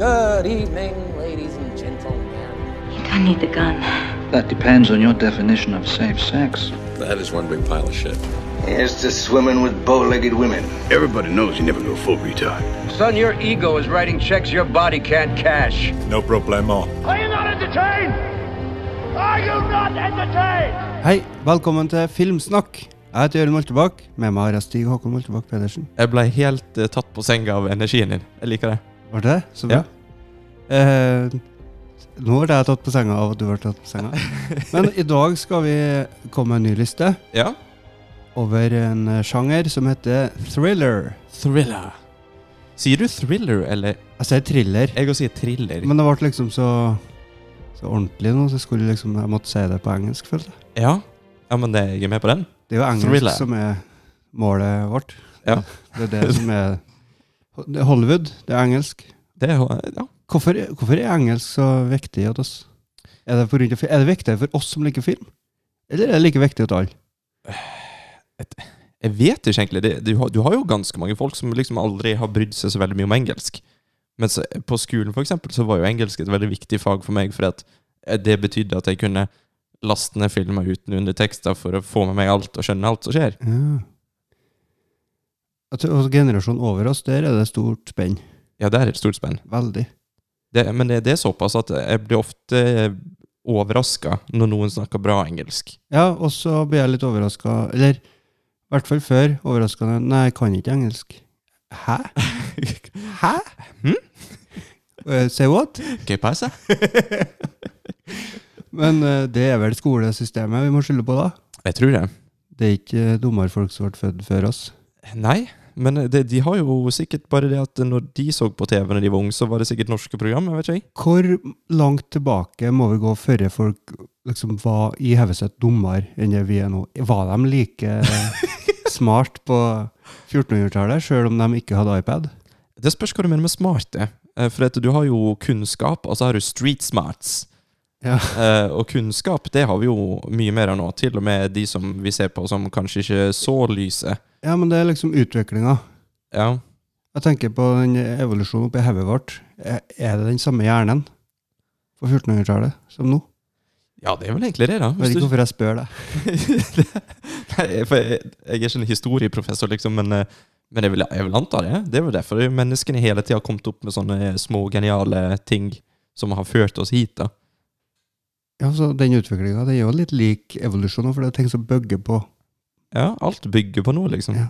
Good evening, ladies and gentlemen. You don't need the gun. That depends on your definition of safe sex. That is one big pile of shit. Here's to swimming with bow-legged women. Everybody knows you never go full retard. Son, your ego is writing checks your body can't cash. No problemo. Are you not entertained? Are you not entertained? Hei, velkommen til Filmsnakk. Jeg heter Jørund Moltebakk. Med meg har jeg Stig Håkon Moltebakk Pedersen. Jeg ble helt eh, tatt på senga av energien din. Jeg liker det. Var det det? Så bra. Eh, nå ble jeg tatt på senga av at du ble tatt på senga. Men i dag skal vi komme med en ny liste Ja. over en eh, sjanger som heter thriller. Thriller. Sier du thriller, eller Altså, Jeg sier thriller, Jeg også sier thriller. men det ble liksom så, så ordentlig nå, så jeg skulle liksom, jeg måtte si det på engelsk, følte jeg. Ja. ja, men det, jeg er med på den. Det er jo engelsk Thriller. som er målet vårt. Ja. Det er det som er det er Hollywood, det er engelsk. Det, ja. Hvorfor, hvorfor er engelsk så viktig for oss? Er det, på grunn av, fi- er det viktig for oss som liker film? Eller er det like viktig for alle? Jeg vet ikke egentlig. Det, du, har, du har jo ganske mange folk som liksom aldri har brydd seg så veldig mye om engelsk. Mens på skolen for eksempel, så var jo engelsk et veldig viktig fag for meg, fordi at eh, det betydde at jeg kunne laste ned filmer uten undertekster for å få med meg alt og skjønne alt som skjer. Ja. Jeg tror også generasjonen over oss, der er det stort spenn. Ja, det er et stort spenn. Veldig. Det, men det, det er såpass at jeg blir ofte overraska når noen snakker bra engelsk. Ja, og så blir jeg litt overraska, eller i hvert fall før overraskende Nei, jeg kan ikke engelsk. Hæ? Hæ? Eh, say what? Hva passer? Men eh, det er vel skolesystemet vi må skylde på, da? Jeg tror det. Det er ikke eh, dummere folk som ble født før oss. Nei, men det, de har jo sikkert bare det at når de så på TV når de var unge, så var det sikkert norske program. jeg vet ikke jeg. Hvor langt tilbake må vi gå før folk liksom var i Heveseth dummere enn det vi er nå? Var de like smart på 1400-tallet, sjøl om de ikke hadde iPad? Det spørs hva du mener med smart. det. Eh, For at du har jo kunnskap, og så har du street smarts. Ja. Eh, og kunnskap det har vi jo mye mer av nå. Til og med de som vi ser på som kanskje ikke er så lyse. Ja, men det er liksom utviklinga. Ja, Jeg tenker på den evolusjonen oppi hodet vårt. Er er det den samme hjernen på 1400-tallet som nå? ja det er vel egentlig det, da. Jeg vet ikke hvorfor jeg spør deg. Nei, for jeg, jeg er ikke en historieprofessor, liksom, men, eh, men jeg, vil, jeg vil anta det. Det er vel derfor menneskene hele tida har kommet opp med sånne eh, små, geniale ting som har ført oss hit. da. Ja, så Den utviklinga er jo litt lik evolusjonen, for det er ting som bygger på Ja, Alt bygger på noe, liksom. Ja.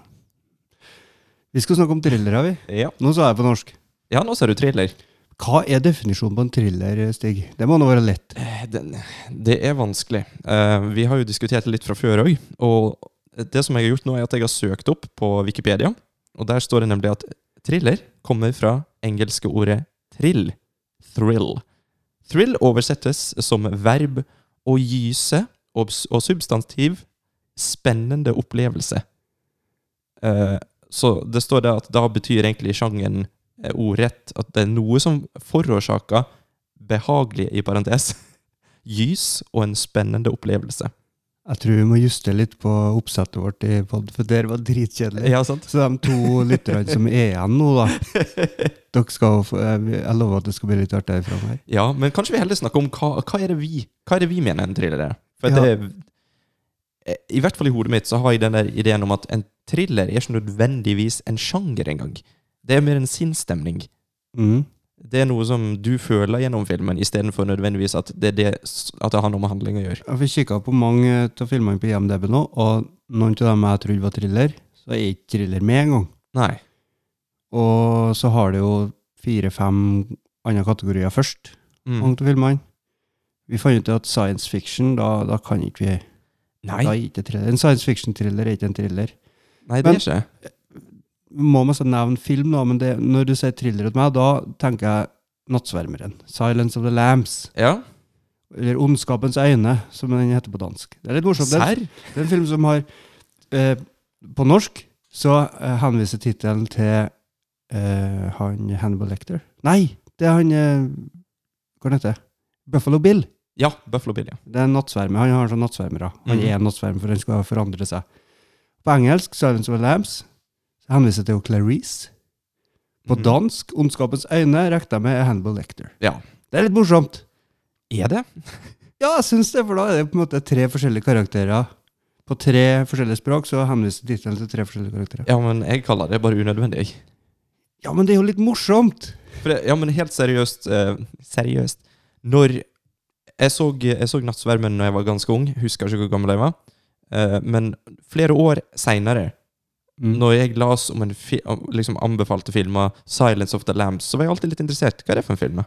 Vi skal snakke om thrillere, vi. Ja, Nå sa jeg på norsk. ja nå ser du thriller. Hva er definisjonen på en thriller, Stig? Det må nå være lett. Eh, Den, det er vanskelig. Eh, vi har jo diskutert det litt fra før òg. Og det som jeg har gjort nå, er at jeg har søkt opp på Wikipedia, og der står det nemlig at thriller kommer fra engelske ordet trill. Thrill. Thrill oversettes som verb å gyse og, s- og substantiv spennende opplevelse. Eh, så det står det at da betyr egentlig sjangeren eh, ordrett at det er noe som forårsaker behagelig i parentes gys og en spennende opplevelse. Jeg tror vi må justere litt på oppsettet vårt i pod, for der var dritkjedelig. Ja, sant? Så de to lytterne som er igjen nå, da dere skal, få- eh, Jeg lover at det skal bli litt artig framover. Ja, men kanskje vi heller snakker om hva, hva er det vi Hva er det vi mener en thriller er? For Ja. det, I hvert fall i hodet mitt så har jeg den der ideen om at en thriller er ikke nødvendigvis en sjanger engang. Det er mer en sinnsstemning. Mm. Det er noe som du føler gjennom filmen, istedenfor nødvendigvis at det, er det, s- at det har noe med handling å gjøre. Jeg fikk kikka på mange av filmene på IMDb nå, og noen av dem jeg trodde var thriller, så er ikke thriller med engang. Nei. Og så har det jo fire-fem andre kategorier først, Mm. mange av filmene. Vi fant ut at science fiction, da, da kan ikke vi Nei. Da er ikke thriller. En science fiction-thriller er ikke en thriller. Nei, det Men- er ikke Må man så nevne film, da, men det, når du sier thriller til meg, da tenker jeg Nattsvermeren. 'Silence of the Lambs'. Ja. Eller 'Ondskapens øyne', som den heter på dansk. Det er litt morsomt. Det, Serr? det er en film som har eh, På norsk så eh, henviser tittelen til eh, han Hannibal Lecter. Nei, det er han eh, Hva heter det? Buffalo Bill. Ja. Buffalo Bill, ja. Det er en nattsverme. Han har sånn nattsvermere. Han Mhm. er en nattsverm, for han skal forandre seg. På engelsk, Silence of the Lambs, så henviser det til Clarice. På dansk, Ondskapens øyne, rekte jeg med er Hannibal Lecter. Mm. Ja. Det er litt morsomt. Er det? Ja, jeg syns det, for da er det på en måte tre forskjellige karakterer. På tre forskjellige språk så henviser tittelen til tre forskjellige karakterer. Ja, men jeg kaller det bare unødvendig. jeg. Ja, men det er jo litt morsomt! For det, ja, men helt seriøst eh, Seriøst. Når jeg så, jeg så Nattsvermen når jeg var ganske ung, husker ikke hvor gammel jeg var, eh, men flere år seinere Mm. Når jeg las om en fi om, liksom anbefalte filmer, 'Silence of the Lambs', så var jeg alltid litt interessert. Hva er det for en film? da?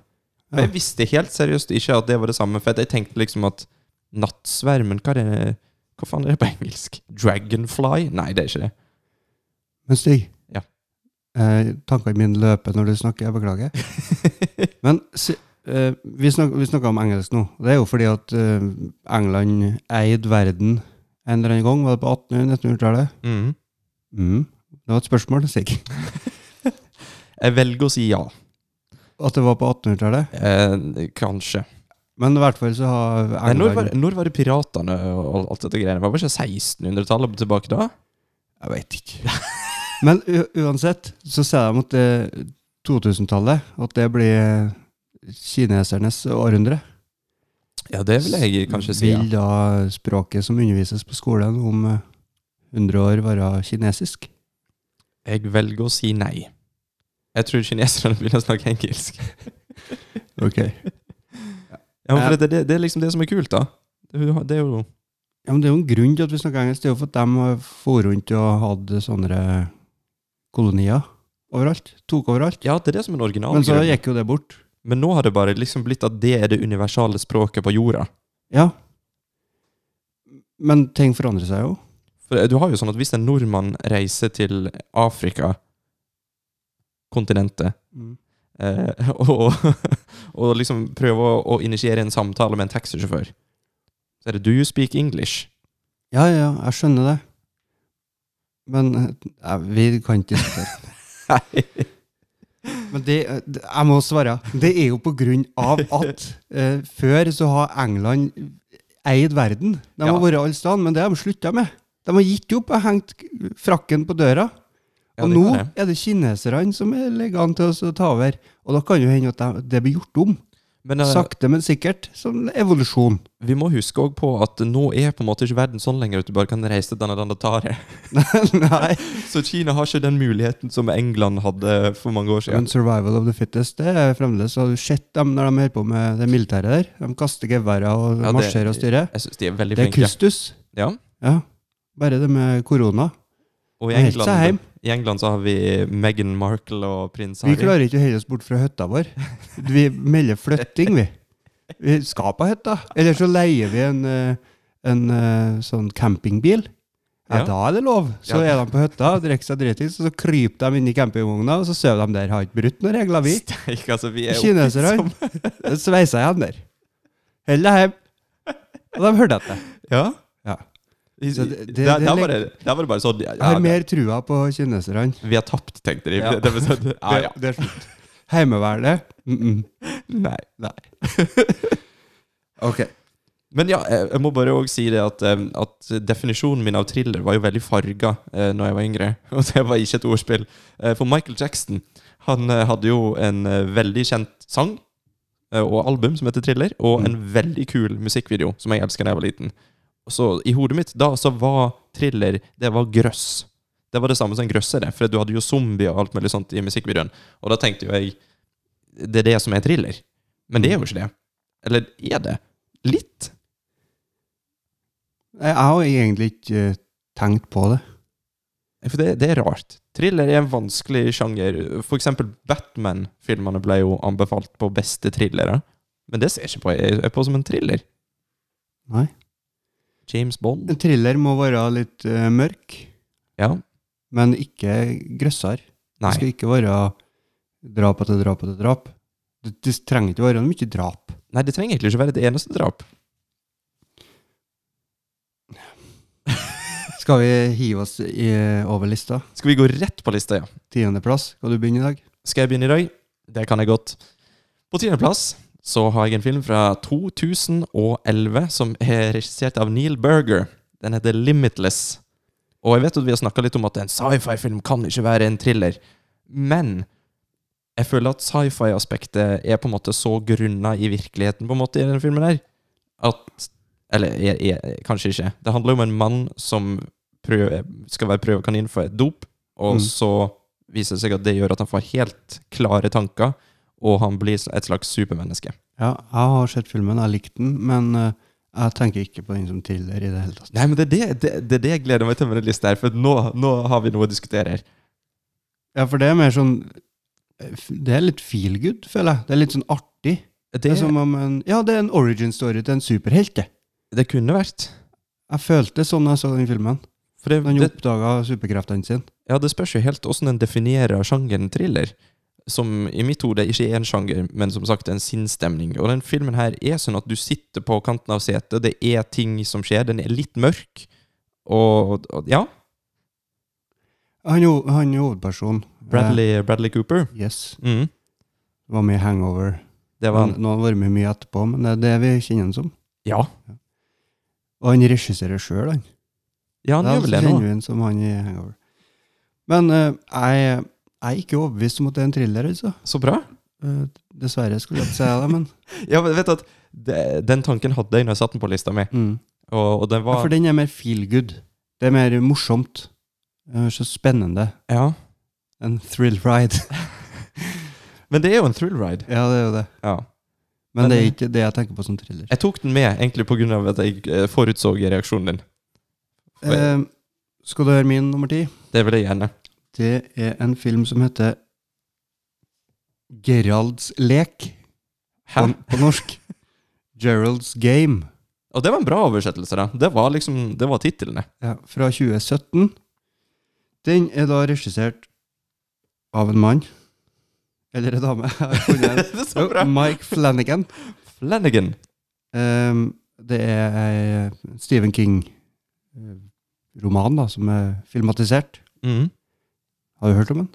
Og Ja. Jeg visste helt seriøst ikke at det var det samme, for at jeg tenkte liksom at 'Nattsvermen', hva, er det, hva faen er det på engelsk? 'Dragonfly'? Nei, det er ikke det. Men Stig, Ja. eh, tankene mine løper når du snakker, jeg beklager. Men se- eh, vi, snak, vi snakker om engelsk nå. Det er jo fordi at eh, England eide verden en eller annen gang, var det på 1800-1900-tallet? Mhm. Mm. Det var et spørsmål, Stig. Jeg velger å si ja. At det var på 1800-tallet. Eh, kanskje. Men i hvert fall så har Nei, når, var, England når var det piratene og alt dette greiene? Var det ikke 1600-tallet tilbake da? Jeg veit ikke. Men u uansett så sier de at det 2000-tallet, at det blir kinesernes århundre. Ja, det vil jeg kanskje si. Ja. Vil da språket som undervises på skolen om eh, 100 år være kinesisk? Jeg velger å si nei. Jeg tror kineserne begynner å snakke engelsk. Ok. Ja, men for det, det, det er liksom det som er kult, da. Det er jo- Det er jo Ja, men det er jo en grunn til at vi snakker engelsk. Det er jo for at de har for rundt og hadde sånne kolonier overalt. Tok overalt. Ja, det er det som er en original Men så grunn. gikk jo det bort. Men nå har det bare liksom blitt at det er det universale språket på jorda. Ja. Men ting forandrer seg jo. For du har jo sånn at hvis en nordmann reiser til Afrika, kontinentet, eh, og, og liksom prøver å, å initiere en samtale med en taxisjåfør, så er det 'do you speak English'? Ja, ja, jeg skjønner det. Men eh, nei, vi kan ikke diskutere. Men det, eh, det- jeg må svare. Det er jo på grunn av at eh, før så har England eid verden. De har Ja. vært alle steder, men det har de slutta med. De har gitt opp og hengt frakken på døra. Ja, Og det nå kan jeg. er det kineserne som er- ligger an til å ta over. Og da kan jo hende at de- det blir gjort om. Men eh, Sakte, men sikkert. Som evolusjon. vi må huske òg på at nå er på en måte ikke verden sånn lenger at du bare kan reise til Danadandataret. Nei. Så Kina har ikke den muligheten som England hadde for mange år Men siden. survival of the fittest, det er fremdeles Har du sett dem når de holder på med det militæret der? De kaster geværer og Ja, det- marsjerer og styrer. Jeg syns de er veldig Det er flinke. kustus. Ja. Ja. Bare det med korona. Og i Men helt seg England, heim. i England så har vi Meghan Markle og prins Vi Harry. klarer ikke å holde oss bort fra hytta vår. Vi melder flytting, vi. Vi skal på hytta. Eller så leier vi en, eh, en eh, sånn campingbil. Ja, Ja. Da er det lov. Så Ja. er de på hytta, drikker seg dritings, og så kryper de inn i campingvogna, og så sover de der. Har ikke brutt noen regler, vi. Steik, altså, vi er jo Kineserne liksom- sveisa igjen der. Hold deg hjem. Og de hørte etter. Ja. Ja. I- Så det- det- der, det der, legger- var det, der var det bare sånn ja, Jeg har ja, mer trua på kineserne. Vi har tapt, tenkte de. Ja. Det var sånn, ja, ja. Det er slutt. Heimevernet? Mm -mm. Nei. Ok. Men ja, eh, jeg jeg må bare òg si det at, eh, at definisjonen min av thriller var jo veldig farga eh, når jeg var yngre. Og det var ikke et ordspill. Eh, For Michael Jackson han eh, hadde jo en eh, veldig kjent sang eh, og album som heter Thriller, og en veldig kul musikkvideo som jeg elska da jeg var liten. Så i hodet mitt da så var thriller Det var grøss. Det var det samme som grøss er det, for du hadde jo zombier og alt mulig sånt i musikkvideoen. Og da tenkte jo jeg Det er det som er thriller. Men det er jo ikke det. Eller er det? Litt. Jeg har egentlig ikke eh, tenkt på det. For det, det er rart. Thriller er en vanskelig sjanger. For eksempel Batman-filmene ble jo anbefalt på beste thrillere. Men det ser jeg ikke på. Jeg er på som en thriller. Nei. James Bond. En thriller må være litt eh, mørk, Ja. men ikke grøssere. Det Nei. skal ikke være drap etter drap etter drap. Det, det trenger ikke være mye drap. Nei, det trenger egentlig ikke være et eneste drap. Skal vi hive oss i, over lista? Skal vi gå rett på lista, ja? Tiendeplass. Skal du begynne i dag? Skal jeg begynne i dag? Det kan jeg godt. På tiendeplass så har jeg en film fra 2011 som er regissert av Neil Berger. Den heter Limitless. Og jeg vet at vi har snakka litt om at en sci-fi-film kan ikke være en thriller. Men Jeg føler at sci-fi-aspektet er på en måte så grunna i virkeligheten på en måte i denne filmen her, at Eller jeg, jeg, kanskje ikke. Det handler om en mann som prøver, skal være prøvekanin for et dop, og Mm. så viser det seg at det gjør at han får helt klare tanker, og han blir et slags supermenneske. Ja, jeg har sett filmen, jeg likte den, men eh, jeg tenker ikke på den som thriller i det hele tatt. Nei, men det er det, det, det, er det jeg gleder meg til med denne lista her, for nå, nå har vi noe å diskutere her. Ja, for det er mer sånn Det er litt feel good, føler jeg. Det er litt sånn artig. Det Det, er som om en Ja, det er en origin story til en superhelt, det. det kunne vært. Jeg følte sånn da jeg så den filmen. For Når det, han det, oppdaga superkreftene sine. ja, det spørs jo helt hvordan en definerer sjangeren thriller, som i mitt hode ikke er en sjanger, men som sagt en sinnsstemning. Og den filmen her er sånn at du sitter på kanten av setet, det er ting som skjer, den er litt mørk, og, og ja, Han, ho- han hovedpersonen Bradley, Bradley Cooper. Eh, yes. Mm, Var med i Hangover. det var Men han. Nå har han vært med mye etterpå, men det er det vi kjenner han som. Ja, Og han regisserer sjøl, han. ja han Da gjør vel det nå. kjenner vi han som han i Hangover. Men eh, jeg, jeg er ikke overbevist om at det er en thriller, altså. Så bra. Eh, dessverre, skulle jeg ikke si det, men Ja, men vet du at det, den tanken hadde jeg når jeg satte den på lista mi, mm. og, og den ja, var For den er mer feel good. Det er mer morsomt. Eh, så spennende. Ja. En thrill ride. Men det er jo en thrill ride. ja, det er jo det. Ja. Men Men det er det- ikke det jeg tenker på som thriller. Jeg tok den med egentlig på grunn av at jeg eh, forutså reaksjonen din. for- Eh, skal du høre min nummer ti? Det vil jeg gjerne. Det er en film som heter Geralds lek Hæ? på, på norsk. Geralds Game Og det var en bra oversettelse, da. Det var liksom, det var titlene. ja, fra 2017. Den er da regissert av en mann. Eller en dame. Jeg har funnet en. det er så Jo, bra. Oh, Mike Flanagan. Flanagan. Ehm, det er ei Stephen King-roman da, som er filmatisert. Mhm. Har du hørt om den?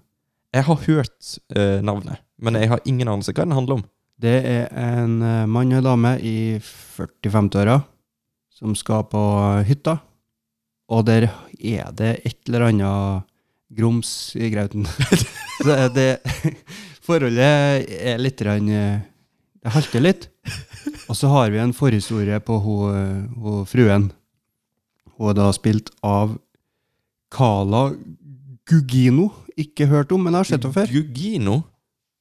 Jeg har hørt eh, navnet, men jeg har ingen anelse hva den handler om. Det er en eh, mann og en dame i 40-50-åra som skal på eh, hytta. Og der er det et eller annet grums i grauten. Så er det Forholdet er litt grann, eh, Det halter litt. Og så har vi en forhistorie på hun, eh, hun fruen. Hun er da spilt av Kala Gugino. Ikke hørt om, men jeg har sett henne før. Gugino.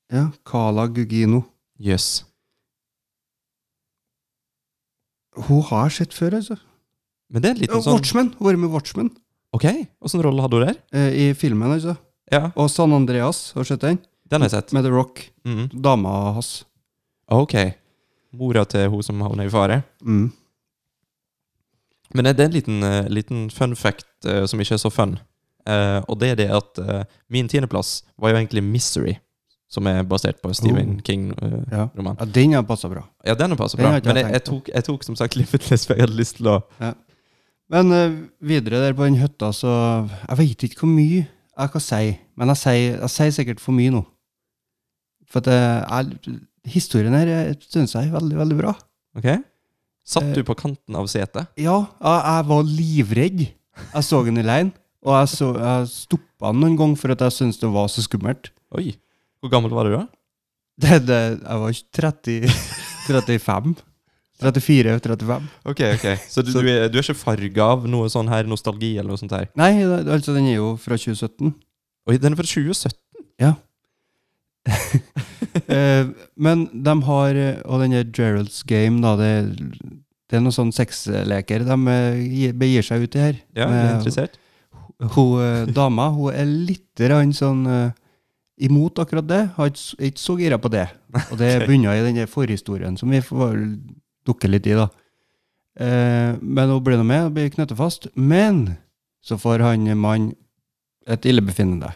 Ja, Kala Gugino. Jøss. Yes. Hun har sett før, altså. Men det er en liten sånn Watchmen! Hun har vært med i Watchmen Ok, åssen rolle hadde hun der? eh, i filmen, altså. Ja, Og San Andreas, har du sett den? den har jeg sett. Med The Rock. Mhm. Dama hans. Ok. Mora til hun som havner i fare. Mm. Men det er en liten, eh, liten fun fact eh, som ikke er så fun. Eh, og det er det at eh, min tiendeplass var jo egentlig 'Misery', som er basert på en Stephen Oh. King-roman. Ja. ja, den har passa bra. ja. den er passet Den bra. har ikke jeg Men jeg, tenkt jeg, på. tok, jeg tok som sagt Limitless, for jeg hadde lyst til å Men eh, videre der på den hytta, så Jeg veit ikke hvor mye jeg kan si, men jeg sier, jeg sier sikkert for mye nå. For at eh, jeg, historien her syns jeg er veldig, veldig bra. Ok? Satt Eh. du på kanten av setet? Ja, jeg, jeg var livredd. Jeg så den i leiren, og jeg, så- jeg stoppa den noen ganger for at jeg syntes det var så skummelt. Oi. Hvor gammel var du da? Det, det, jeg var ikke 30, 35. 34, 35. Ok, ok. Så du, Så- du, er, du er ikke farga av noe sånn her nostalgi eller noe sånt her? Nei, det- altså den er jo fra 2017. Oi, den er fra 2017. Eh, men de har eh, Og den der Geralds Game, da, det, det er noen sånne sexleker de eh, gi- begir seg ut i her. Ja, jeg er Eh, interessert. Hun eh, dama hun er litt rann sånn eh, imot akkurat det. Har ikke s- er ikke så gira på det. Og det Ok. bunner i den der forhistorien som vi får dukke litt i, da. Eh, men hun blir nå med og blir knyttet fast. Men så får han eh, mann et illebefinnende.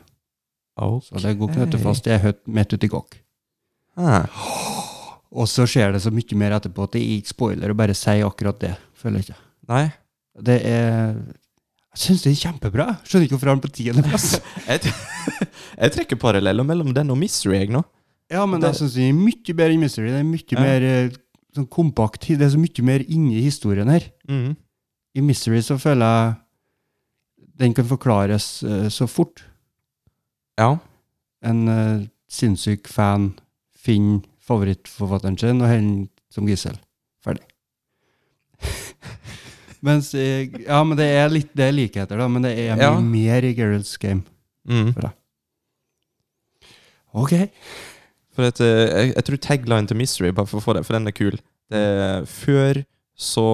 Så det går knyttet fast i ei hytte midt ute i gokk. Ah. Og så skjer det så mye mer etterpå at det er ikke spoiler å bare si akkurat det. Føler jeg ikke. Nei. Det er Jeg syns det er kjempebra. Skjønner ikke hvorfor han er på tiendeplass. Jeg, t- jeg trekker paralleller mellom den og Misery, jeg nå. Ja, men Det- jeg syns den er mye bedre enn Mystery. Det er mye Ja. mer eh, sånn kompakt. Det er så mye mer inni historien her. Mm. I Mystery så føler jeg den kan forklares eh, så fort. Ja. En eh, sinnssyk fan finner favorittforfatteren sin og holder som gissel. Ferdig. Mens eh, Ja, men det er litt det er likheter, da. Men det er mye Ja. mer i Geralds game. Mm. Ok. For at, eh, jeg, jeg tror tagline til Misery, bare for å få det, for den er kul det, er, Før så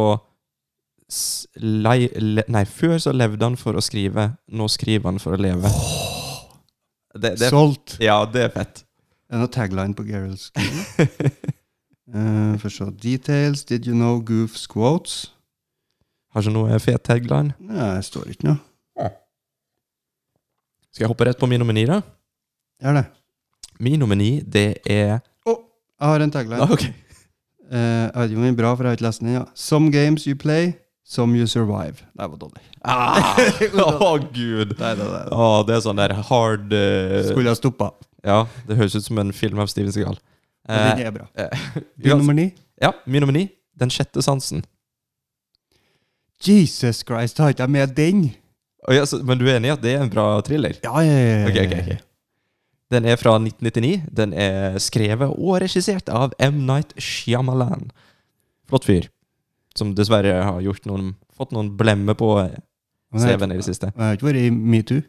s- lei, le, Nei, før så levde han for å skrive, nå skriver han for å leve. Det, det, Solgt. ja, det er fett. Er det noe tagline på Geralds game? Eh, Får se. Details. Did you know goofs quotes? Har ikke noe fet tagline. Nei, det står ikke noe. Skal jeg hoppe rett på min nomini, da? Gjør det. Min nomini, det er Å, jeg har en tagline. ah, Ok. Eh, jeg vet ikke om den er bra, for jeg har ikke lest den ennå. Some games you play, some you survive. Det var dårlig. Ah, Å, gud! Nei, nei, nei. Å, det er sånn der hard eh, Skulle ha stoppa. Ja, det høres ut som en film av Steven Segal. Den er bra. Din uansett- nummer ni? ja, min nomini, Den sjette sansen. Jesus Christ, har ikke jeg med den? Å, ja, så, men du er enig i at det er en bra thriller? Ja, ja, ja, ja. Ok, ok, ok. Den er fra 1999. Den er skrevet og regissert av M. Night Shyamalan. Flott fyr. Som dessverre har gjort noen, fått noen blemmer på eh, Men jeg- CV-en i det siste. Jeg har ikke vært i metoo.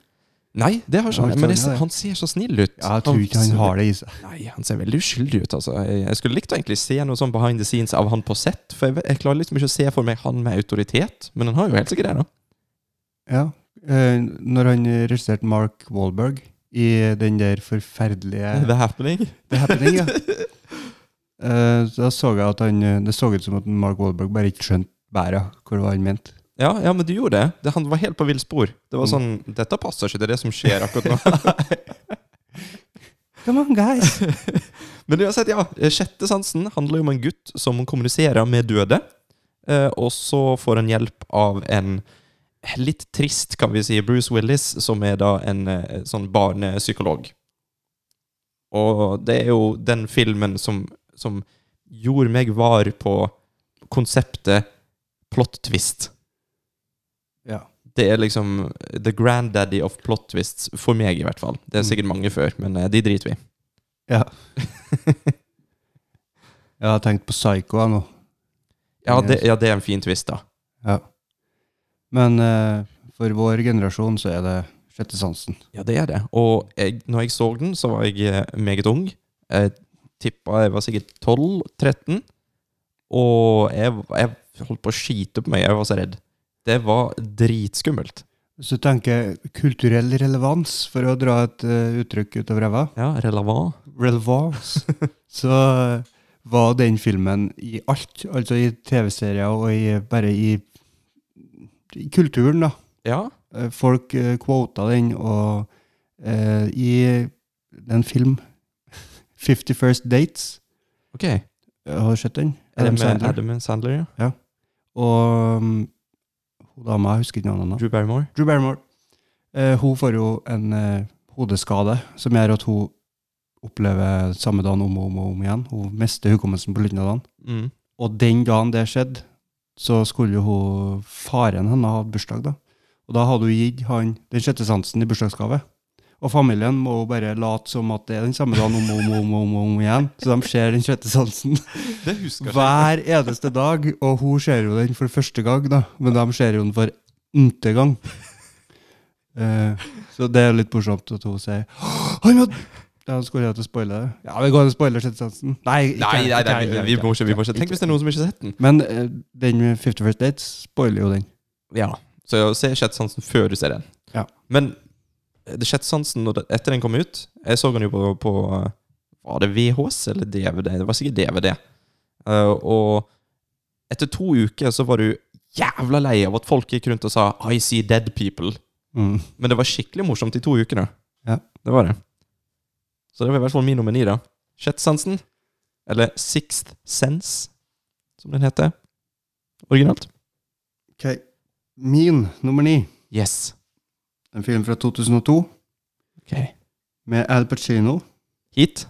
Nei, det har ikke Ja, han. Men det, stemmer det. han ser så snill ut. Jeg tror ikke han har det i seg. Nei, han ser veldig uskyldig ut, altså. Jeg, jeg skulle likt å egentlig se noe sånn behind the scenes av han på sett, for jeg, vet- jeg klarer liksom ikke å se for meg han med autoritet, men han har jo helt sikkert det, da. Ja. Eh, når han regisserte Mark Wahlberg i den der forferdelige The Happening. The Happening, ja. Eh, da så jeg at han eh, Det så ut som at Mark Wahlberg bare ikke skjønte bæra, hvor var han mente. Ja, ja, men du gjorde det. det. Han var helt på vill spor. Det Mm. var sånn Dette passer ikke, det er det som skjer akkurat nå. Come on, guys! men uansett, ja. Sjette sansen handler jo om en gutt som kommuniserer med døde, eh, og så får han hjelp av en litt trist, kan vi si, Bruce Willis, som er da en eh, sånn barnepsykolog. Og det er jo den filmen som, som gjorde meg var på konseptet plot twist. Ja. Det er liksom the granddaddy of plot twists, for meg i hvert fall. Det er sikkert mange før, men eh, de driter vi i. Ja. Jeg har tenkt på Psycho jeg, nå. Ja, det- ja, det er en fin twist, da. Ja. Men eh, for vår generasjon så er det sjette sansen. Ja, det er det. Og jeg, når jeg så den, så var jeg eh, meget ung. Jeg tippa jeg var sikkert 12-13. Og jeg, jeg holdt på å skite på meg. Jeg var så redd. Det var dritskummelt. Hvis du tenker kulturell relevans, for å dra et eh, uttrykk ut av ræva, Ja, relevant. relevance, så eh, var den filmen i alt. Altså i TV-serier og i, bare i, i kulturen, da. Ja. Eh, Folk eh, quota den, og eh, i den film, 50 First Dates, Ok. har du sett den? Er Adam det med Sandler. Adam Sandler, ja? Og um, hun dama, jeg husker ikke navnet hennes. Drew Barrymore? Drew Barrymore. Eh, hun får jo en eh, hodeskade som gjør at hun opplever samme dagen om og om og om igjen. Hun mister hukommelsen på slutten av dagen. Mm. Og den dagen det skjedde, så skulle jo hun faren hennes ha bursdag, da. Og da hadde hun gitt han den sjette sansen i bursdagsgave. Og familien må jo bare late som at det er den samme dagen om og om og om, og om, og om igjen. Så de ser den sjette sansen. Det husker Hver eneste dag, og hun ser jo den for første gang, da. Men de ser jo den for n-te gang. Eh, så det er litt morsomt at hun sier «Åh, Han hadde Da skulle jeg til å spoile det. Ja, vi går og spoiler Sjette sansen. Nei, ikke, Nei, nei, nei, ikke- vi- vi må ikke. Vi må ikke. Tenk hvis det er noen som ikke har sett den. Men eh, den med 50 First Dates spoiler jo den. Ja. Så se Sjettsansen før du ser den. Ja. Men eh, Sjettsansen, etter den kom ut Jeg så den jo på, på Var det VHS eller DVD? Det var sikkert DVD. Eh, og etter to uker så var du jævla lei av at folk gikk rundt og sa 'I see dead people'. Mm. Men det var skikkelig morsomt i to uker, da. Ja. Det var det. Så det var i hvert fall min nummer ni, da. Sjettsansen. Eller Sixth Sense, som den heter. Originalt. Ok. Min nummer ni, Yes. en film fra 2002 Ok. med Al Pacino. Hit.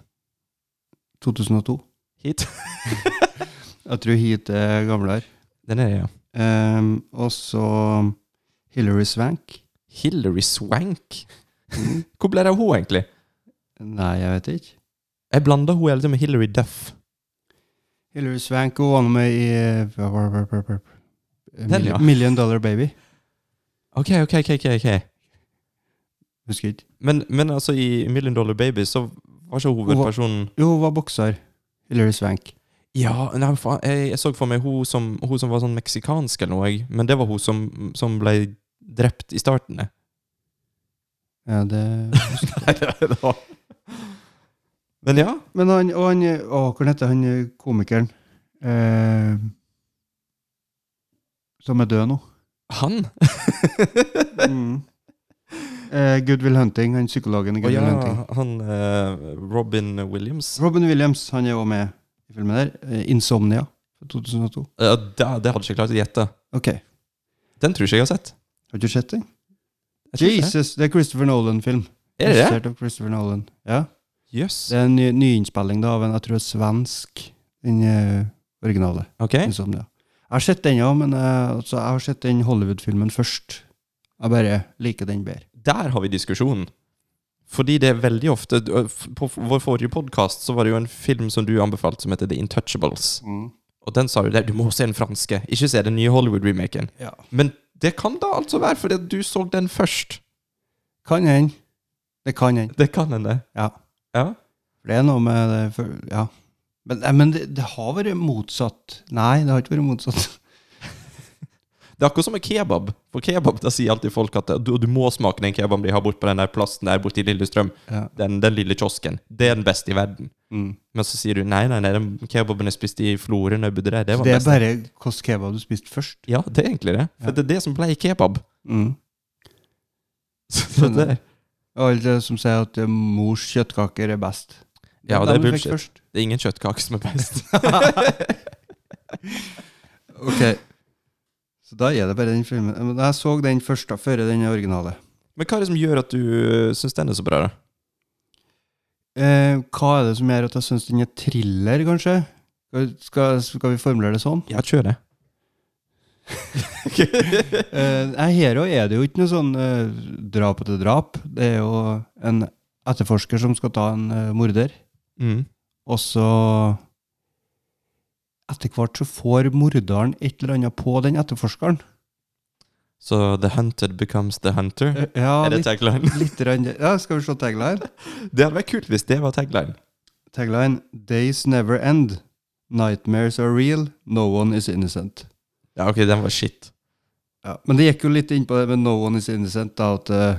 2002. Hit. Jeg tror hit er gamlere. Den er det, ja. Um, og så Hilary Swank. Mm. Hillary Swank. Hvor ble det av henne, egentlig? Nei, jeg vet ikke. Jeg blander hun hele tiden med Hilary Duff. Hilary Swank hun var nå med i Den, ja. million, million Dollar Baby. Ok, ok, ok, ok, ok. Husker ikke. Men, men altså, i Million Dollar Baby så var ikke hovedpersonen Jo, hun var bokser. Hilary Swank. Ja, nei, faen, jeg, jeg så for meg hun som, hun som var sånn meksikansk eller noe, jeg. men det var hun som, som ble drept i starten. jeg. Ja, det Nei, det var Men ja. Men han Og han Å, hvordan heter han komikeren? Eh, som er død nå. Han? Mm. Eh, Goodwill Hunting, han psykologen i Å Goodwill ja, Hunting. han eh, Robin Williams. Robin Williams, han er òg med i filmen der. Eh, Insomnia fra 2002. Ja, Eh, det, det hadde jeg ikke klart å gjette. Ok, har Den tror ikke jeg har sett. du sett den? Jeg tror ikke det. Jesus, det er Christopher Nolan-film. Er det det? Regissert av Christopher Nolan. Ja. Jøss. Det er en ny, nyinnspilling da, av en jeg tror svensk, den eh, originale. Ok. Insomnia. Jeg har sett den, ja, men eh, altså, jeg har sett den Hollywood-filmen først. Jeg bare liker den bedre. Der har vi diskusjonen. Fordi det er veldig ofte du- øh, f- På f- vår forrige podkast var det jo en film som du anbefalte, som heter The Intouchables. Og den sa jo der, du må se den franske, ikke se den nye Hollywood-remaken. Ja. Men det kan da altså være fordi at du så den først. Kan hende. Det kan hende. Det kan hende. Ja. Ja. For det er noe med det for, Ja. Men, nei, men det, det har vært motsatt. Nei, det har ikke vært motsatt. Det er akkurat som med kebab. For kebab da sier alltid folk at du, du må smake den kebaben de har bort på den der plassen der borte i Lillestrøm. Ja. Mm. Den, den lille kiosken. Det er den beste i verden. Men så sier du nei, nei, nei, den kebaben jeg spiste i Florø når jeg bodde der, det var Det den er beste. bare hvilken kebab du spiste først. Ja, det er egentlig det. For det er det som ble kebab. Mm. Så det, Og alle de som sier at eh, mors kjøttkaker er best. Ja, dem det er du fikk bullshit. først. det er ingen kjøttkake som er best. Ok. Så da er det bare den filmen. Men Jeg så den først, da, før den originale. Men hva er det som gjør at du syns den er så bra, da? Eh, hva er det som gjør at jeg syns den er thriller, kanskje? Skal, skal vi formulere det sånn? Ja, kjør det. Eh, nei, her også er det jo ikke noe sånn eh, drap etter drap. Det er jo en etterforsker som skal ta en eh, morder, Mm. og så Etter hvert så får morderen et eller annet på den etterforskeren. Så The Hunted becomes The Hunter? Eh, Ja, Er det litt, tagline? litt rann, ja, skal vi se tagline? Det hadde vært kult hvis det var tagline. Tagline Days never end. Nightmares are real. No one is innocent. Ja, ok, den var shit. Ja, men det gikk jo litt inn på det med No one is innocent, da, at eh,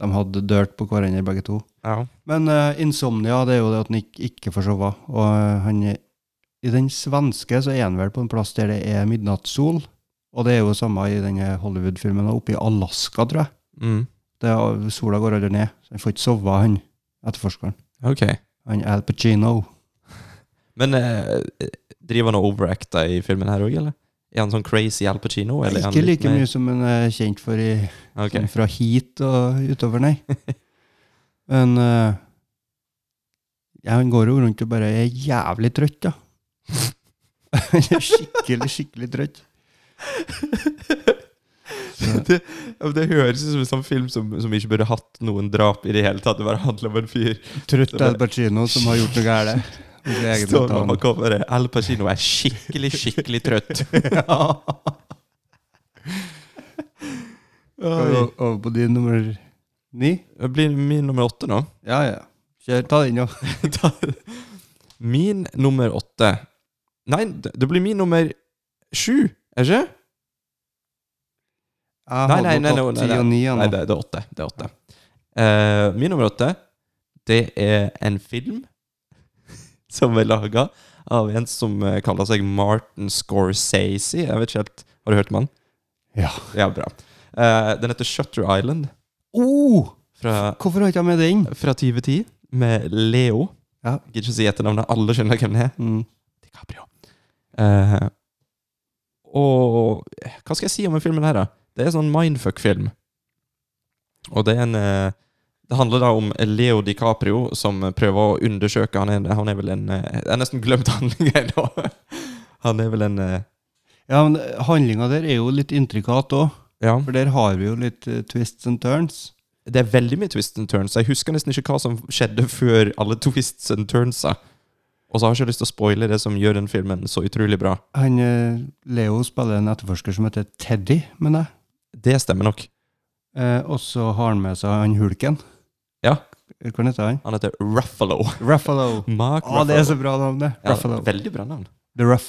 de hadde dirt på hverandre begge to. Ja. Men eh, insomnia, det er jo det at han ikke, ikke får sove. Og eh, han I den svenske så er han vel på en plass der det er midnattssol. Og det er jo samme i denne Hollywood-filmen, og oppe i Alaska, tror jeg. Mm. Det er, eh, sola går aldri ned. Så han får ikke sove, han etterforskeren. Ok. Han Al Pacino. Men eh, driver han og overacter i filmen her òg, eller? Er han sånn crazy Al Pacino? Eller er han Ikke litt like mer- mye som han er kjent for i Ok. Sånn fra hit og utover, nei. Men eh, ja, han går jo rundt og bare er jævlig trøtt, da. Han er skikkelig, skikkelig trøtt. Så- det, ja, men det høres ut som en sånn film som, som ikke burde hatt noen drap i det hele tatt. Det bare handler om en fyr Trøtt Al Pacino som har gjort noe galt. Og så egentlig står tar han- med coveret. Al Pacino er skikkelig, skikkelig trøtt. Skal vi Oi. Over på din nummer ni? Det blir min nummer åtte nå. Ja, ja. Kjør, ta den, ja. Min nummer åtte Nei, det det blir min nummer sju, er det ikke? Jeg Nei, hadde nei, nok nei, hatt nei, nei, ti og ni, jeg, nå. Nei, det, det er åtte. Det er åtte. Eh, min nummer åtte, det er en film som er laga av en som eh, kaller seg Martin Scorsese. Jeg vet ikke helt Har du hørt om han? Ja. Ja, bra. Eh, den heter Shutter Island Oh, fra, hvorfor har ikke jeg med den? fra 2010, med Leo. Ja. Gidder ikke si etternavnet. Alle skjønner hvem det er. Mm. DiCaprio. Eh, og hva skal jeg si om den filmen her, da? Det er en sånn mindfuck-film. Og det er en eh, Det handler da om Leo DiCaprio som prøver å undersøke Han er, han er vel en eh, Jeg har nesten glemt handlingen nå. Han er vel en eh, Ja, men eh, handlinga der er jo litt intrikat òg, Ja, for der har vi jo litt eh, twists and turns. det er veldig mye twists and turns. Jeg husker nesten ikke hva som skjedde før alle twists and turnsa. Og så har jeg ikke lyst til å spoile det som gjør den filmen så utrolig bra. Han, eh, Leo spiller en etterforsker som heter Teddy, mener jeg. Det stemmer nok. Eh, og så har han med seg han hulken. Ja. Hva heter han? Han heter Ruffalo. Ruffalo. Mark Å, det er så bra navn, det. Ja, Ruffalo. veldig bra navn. The Ruff.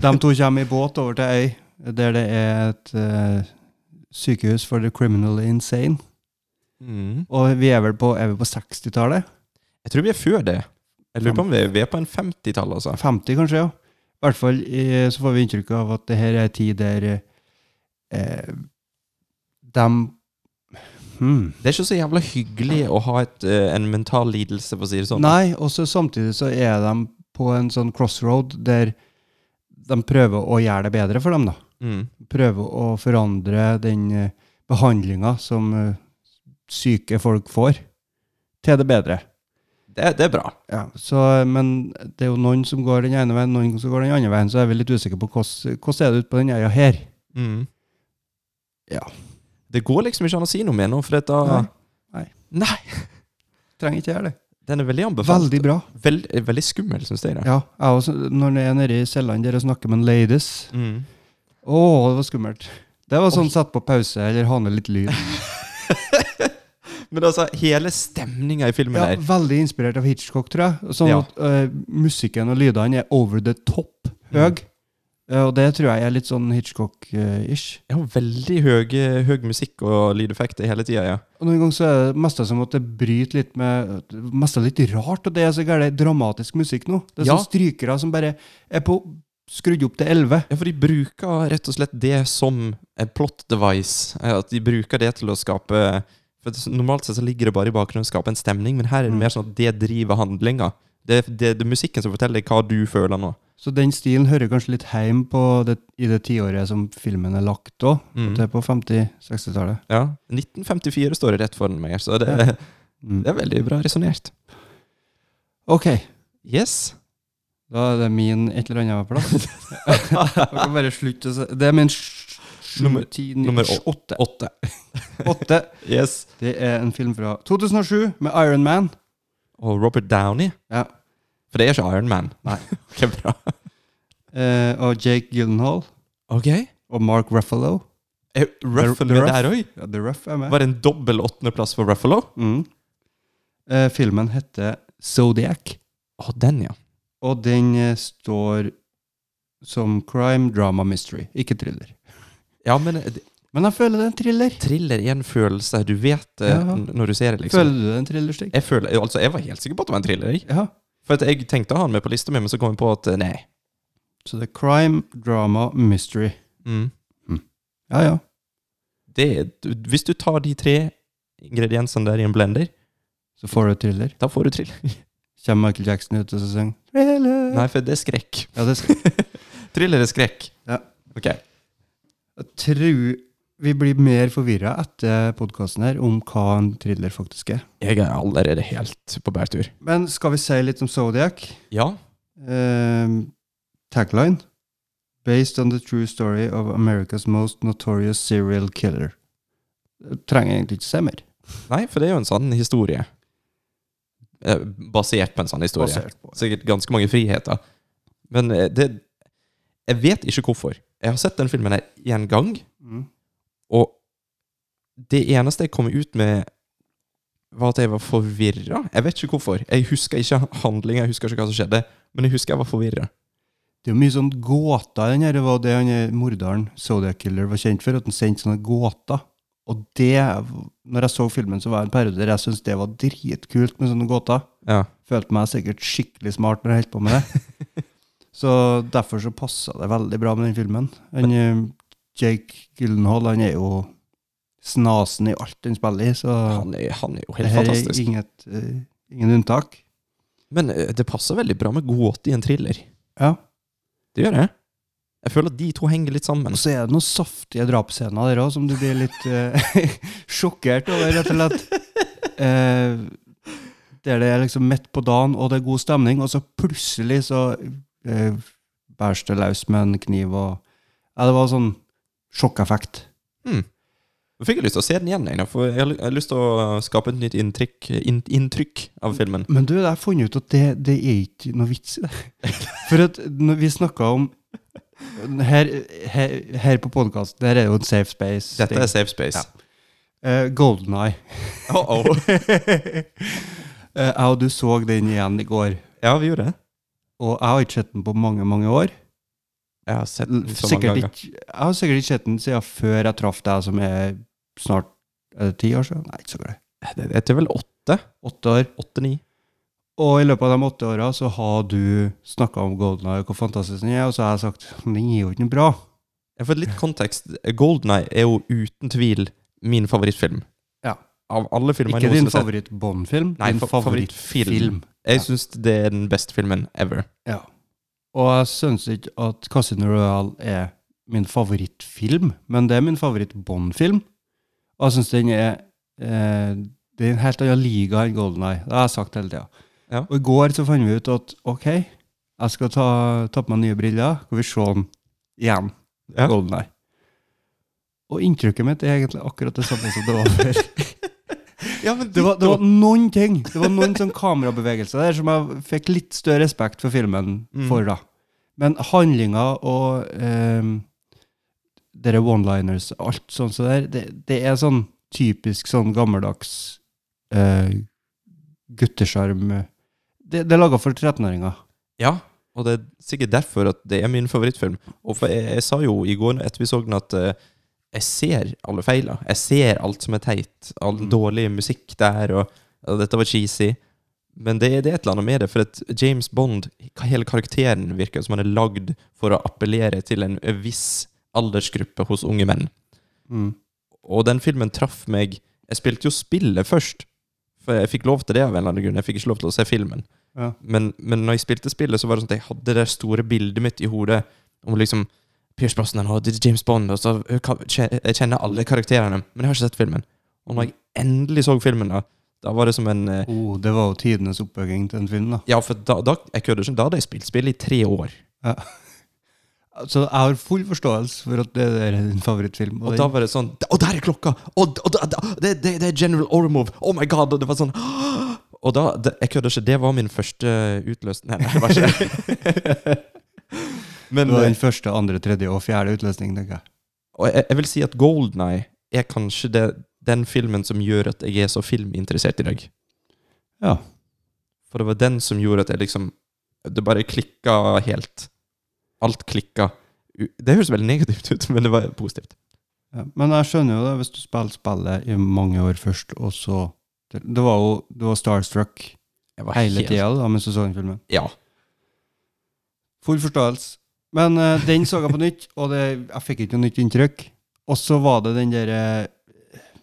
De to kommer i båt over til ei der det er et eh, sykehus for the criminally insane. Mm. Og vi er vel på, er vi på 60-tallet? Jeg tror vi er før det. Jeg lurer på om vi vi er på en 50-tall, altså. 50 kanskje, ja. I hvert fall eh, så får vi inntrykk av at det her er en tid der eh, de hmm. Det er ikke så jævla hyggelig å ha et, eh, en mental lidelse, for å si det sånn. Nei, og så samtidig så er de på en sånn crossroad der de prøver å gjøre det bedre for dem, da. Mm. Prøve å forandre den behandlinga som eh, syke folk får, til det bedre. Det, det er bra. Ja, så, eh, Men det er jo noen som går den ene veien, noen som går den andre veien, så er vi litt usikre på hvordan hvordan er det ute på den øya her. Mm. Ja. Det går liksom ikke an å si noe mer nå, for dette Nei. Nei. Nei. Trenger ikke gjøre det. Den er veldig anbefalt. Veldig bra. Veld, veldig skummel, syns jeg. da. Ja, jeg også, Når jeg er nede i cellene der og snakker med en ladies Mm. Å, det var skummelt. Det var sånn sett på pause eller ha ned litt lyd. Men altså, hele stemninga i filmen Ja, her veldig inspirert av Hitchcock, tror jeg. Sånn Ja. at eh, musikken og lydene er over the top Mm. høy. Eh, og det tror jeg er litt sånn Hitchcock-ish. Jeg har veldig høy, høy musikk og lydeffekter hele tida, ja. Og Noen ganger så er det mest som at det bryter litt med det meste er litt rart, og det er så gærent dramatisk musikk nå. Det er Ja. sånne strykere som bare er på skrudd opp til 11. Ja, for de bruker rett og slett det som en plot device. eh, At de bruker det til å skape For det- Normalt sett så ligger det bare i bakgrunnen å skape en stemning, men her er det Mm. mer sånn at det driver handlinga. Det, er- det, det er musikken som forteller deg hva du føler nå. Så den stilen hører kanskje litt heim på det, i det tiåret som filmen er lagt òg. Mm. Det er på 50-60-tallet. Ja. 1954 står det rett foran meg, her, så det, Mm. det er veldig bra resonnert. Ok, Yes. da er det min et eller annet plass. Jeg kan bare slutte å si Det er min sj- sju, Nummer- ti, ni- Nummer sj- åtte. åtte. åtte. Yes. Det er en film fra 2007 med Iron Man. Og Robert Downey. Ja. For det er ikke Iron Man. Nei. Ok, bra. Eh, og Jake Gyllenhaal Ok. og Mark Ruffalo. Er Ruffalo Ruff? der òg? Ja, The Ruff er med. Var det en dobbel åttendeplass for Ruffalo? Mm. Eh, filmen heter Zodiac, Å, den, ja. og den eh, står som crime, drama, mystery. Ikke thriller. Ja, men eh, Men jeg føler det er en thriller. thriller er en følelse. Du vet det Ja. n- når du ser det, liksom. Føler du det er en thriller, Stig? Jeg, føler, altså, jeg var helt sikker på at det var en thriller. Jeg. Ja. For at jeg tenkte å ha den med på lista mi, men så kom jeg på at eh, nei. Så det er crime, drama, mystery. Mm. Ja, ja. Det, er- du- hvis du tar de tre ingrediensene der i en blender, Så får du thriller. da får du thriller. Kommer Michael Jackson ut og så synger Thriller. Nei, for det er skrekk. Ja, det skal. Thriller er skrekk. Ja. Ok. Jeg tror vi blir mer forvirra etter podkasten her om hva en thriller faktisk er. Jeg er allerede helt på bærtur. Men skal vi si litt om Zodiac? Ja. Um, tagline Based on the true story of America's most notorious serial killer. Trenger egentlig ikke se mer. Nei, for det er jo en sann historie. Eh, Basert på en sann historie. Basert på. sikkert ganske mange friheter. Men eh, det Jeg vet ikke hvorfor. Jeg har sett den filmen her én gang, Mm. og det eneste jeg kom ut med, var at jeg var forvirra. Jeg vet ikke hvorfor. Jeg husker ikke handlinga, jeg husker ikke hva som skjedde, men jeg husker jeg var forvirra. Det er jo mye sånn gåter. Den her det var det han er- morderen, Zodiac Killer, var kjent for. At han sendte sånne gåter. Og det Når jeg så filmen, så var det en periode der jeg syntes det var dritkult med sånne gåter. Ja. Følte meg sikkert skikkelig smart når jeg holdt på med det. så derfor så passa det veldig bra med den filmen. Han, eh, Jake Gyllenhaal han er jo snasen i alt han spiller i, så Han, er, han er jo det helt her er fantastisk. inget, eh, ingen unntak. Men eh, det passer veldig bra med gåte i en thriller. Ja. Det gjør det. Jeg føler at de to henger litt sammen. Og så er det noen saftige drapsscener der òg, som du blir litt eh, sjokkert over, rett og slett. Eh, der det er liksom midt på dagen, og det er god stemning, og så plutselig så eh, bæres det løs med en kniv og Ja, det var sånn sjokkeffekt. Mm. Da fikk jeg lyst til å se den igjen, jeg, da, for jeg har ly- jeg har lyst til å skape et nytt inntrykk, inn, inntrykk av filmen. Men du, jeg har funnet ut at det, det er ikke noe vits i det. For at når vi snakka om her, her, her på podkast, der er jo en safe space. Eh, Dette er Safe Space. Ja. Golden Eye. Oh, oh. Eh, Jeg og du så den igjen i går. Ja, vi gjorde det. Og jeg har ikke sett den på mange, mange år. Jeg har sett den så mange Sikkert ganger. ikke, jeg har sikkert ikke sett den siden før jeg traff deg, som er snart er det ti år siden. Nei, ikke så glad. Det det er vel åtte? Åtte år. Åtte-ni? Og i løpet av de åtte åra så har du snakka om Golden Eye og hvor fantastisk den er, og så har jeg sagt den er jo ikke noe bra. Jeg får litt kontekst. Golden Eye er jo uten tvil min favorittfilm. Ja. Av alle filmer Ikke jeg din noensinne har sett. favoritt-Bond-film, Nei, din fa- favorittfilm. favorittfilm. Jeg syns det er den beste filmen ever. Ja. Og jeg syns ikke at Casino Royale er min favorittfilm, men det er min favoritt-Bond-film. Og jeg syns den er eh, Det er en helt annen liga enn Golden Eye. Det har jeg sagt hele tida. Ja. Og i går så fant vi ut at OK, jeg skal ta, ta på meg nye briller, skal vi se den igjen. Ja. Golden Eye. Og inntrykket mitt er egentlig akkurat det samme som det var før. Ja, men Det var, det var noen ting. Det var noen sånn kamerabevegelser der som jeg fikk litt større respekt for filmen for, da. Men handlinga og eh, dere one-liners og alt sånt så der, det, det er sånn typisk sånn gammeldags eh, guttesjarm Det, det er laga for 13-åringer. Ja, og det er sikkert derfor at det er min favorittfilm. Og for jeg, jeg sa jo i går etter vi så den, at eh, jeg ser alle feila. Jeg ser alt som er teit. All dårlig musikk der, og, ja, dette var cheesy. Men det, det er et eller annet med det, for at James Bond, ka- hele karakteren, virker som han er lagd for å appellere til en viss aldersgruppe hos unge menn. Mm. Og den filmen traff meg Jeg spilte jo spillet først. For jeg fikk lov til det av en eller annen grunn. Jeg fikk ikke lov til å se filmen. Ja. Men, men når jeg spilte spillet, så var det sånn at jeg hadde det store bildet mitt i hodet om liksom Pierce Brosnan og James Bond, og så kan- kje- jeg kjenner alle karakterene. Men jeg har ikke sett filmen. Og når jeg endelig så filmen, da, da var det som en eh, Oh, det var jo tidenes oppbygging til en film, da. Ja, for da, da, jeg kødder ikke, da hadde jeg spilt spillet i tre år. Så jeg har full forståelse for at det der er din favorittfilm. Og Og da den, var det sånn Og der er klokka! Og, og da, da, det, det, det er General Ormov! Oh my god! Og det var sånn Og da det, Jeg kødder ikke. Det var min første utløs... Nei, nei, det var ikke det. Men det var eh, den første, andre, tredje og fjerde utløsning, tenker jeg. og jeg, jeg vil si at Golden Eye er kanskje det, den filmen som gjør at jeg er så filminteressert i dag. Ja. For det var den som gjorde at jeg liksom Det bare klikka helt. Alt klikka. U- Det høres veldig negativt ut, men det var positivt. Ja, men jeg skjønner jo det, hvis du spiller spillet i mange år først, og så Det var jo du var starstruck Jeg var hele helt- tida da, mens du så den filmen. Ja. Full forståelse. Men eh, den så jeg på nytt, og det, jeg fikk ikke noe nytt inntrykk. Og så var det den derre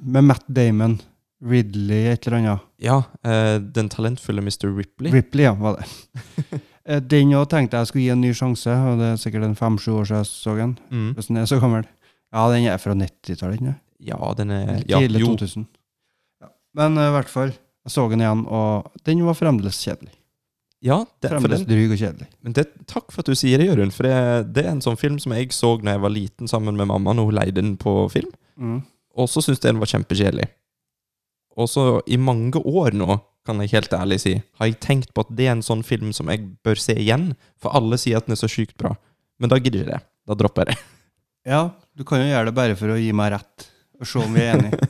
med Matt Damon, Ridley et eller annet. Ja, eh, den talentfulle Mr. Ripley. Ripley, ja, var det. Eh, den òg tenkte jeg skulle gi en ny sjanse, og det er sikkert en fem-sju år siden jeg så den. Mm. Hvis den er så gammel. Ja, den er fra 90-tallet, ikke sant? Ja, den er Eller Eh, ja, Tidlig jo, 2000. Ja. Men eh, i hvert fall, jeg så den igjen, og den var fremdeles kjedelig. ja det, for Fremdeles den, dryg og kjedelig. men det, Takk for at du sier det, Jørund. For det, det er en sånn film som jeg så da jeg var liten sammen med mamma når hun leide den på film. Og så syntes jeg den var kjempekjedelig. Og så i mange år nå, kan jeg helt ærlig si, har jeg tenkt på at det er en sånn film som jeg bør se igjen. For alle sier at den er så sjukt bra. Men da gidder jeg det. Da dropper jeg det. Ja, du kan jo gjøre det bare for å gi meg rett, og se om vi er enige.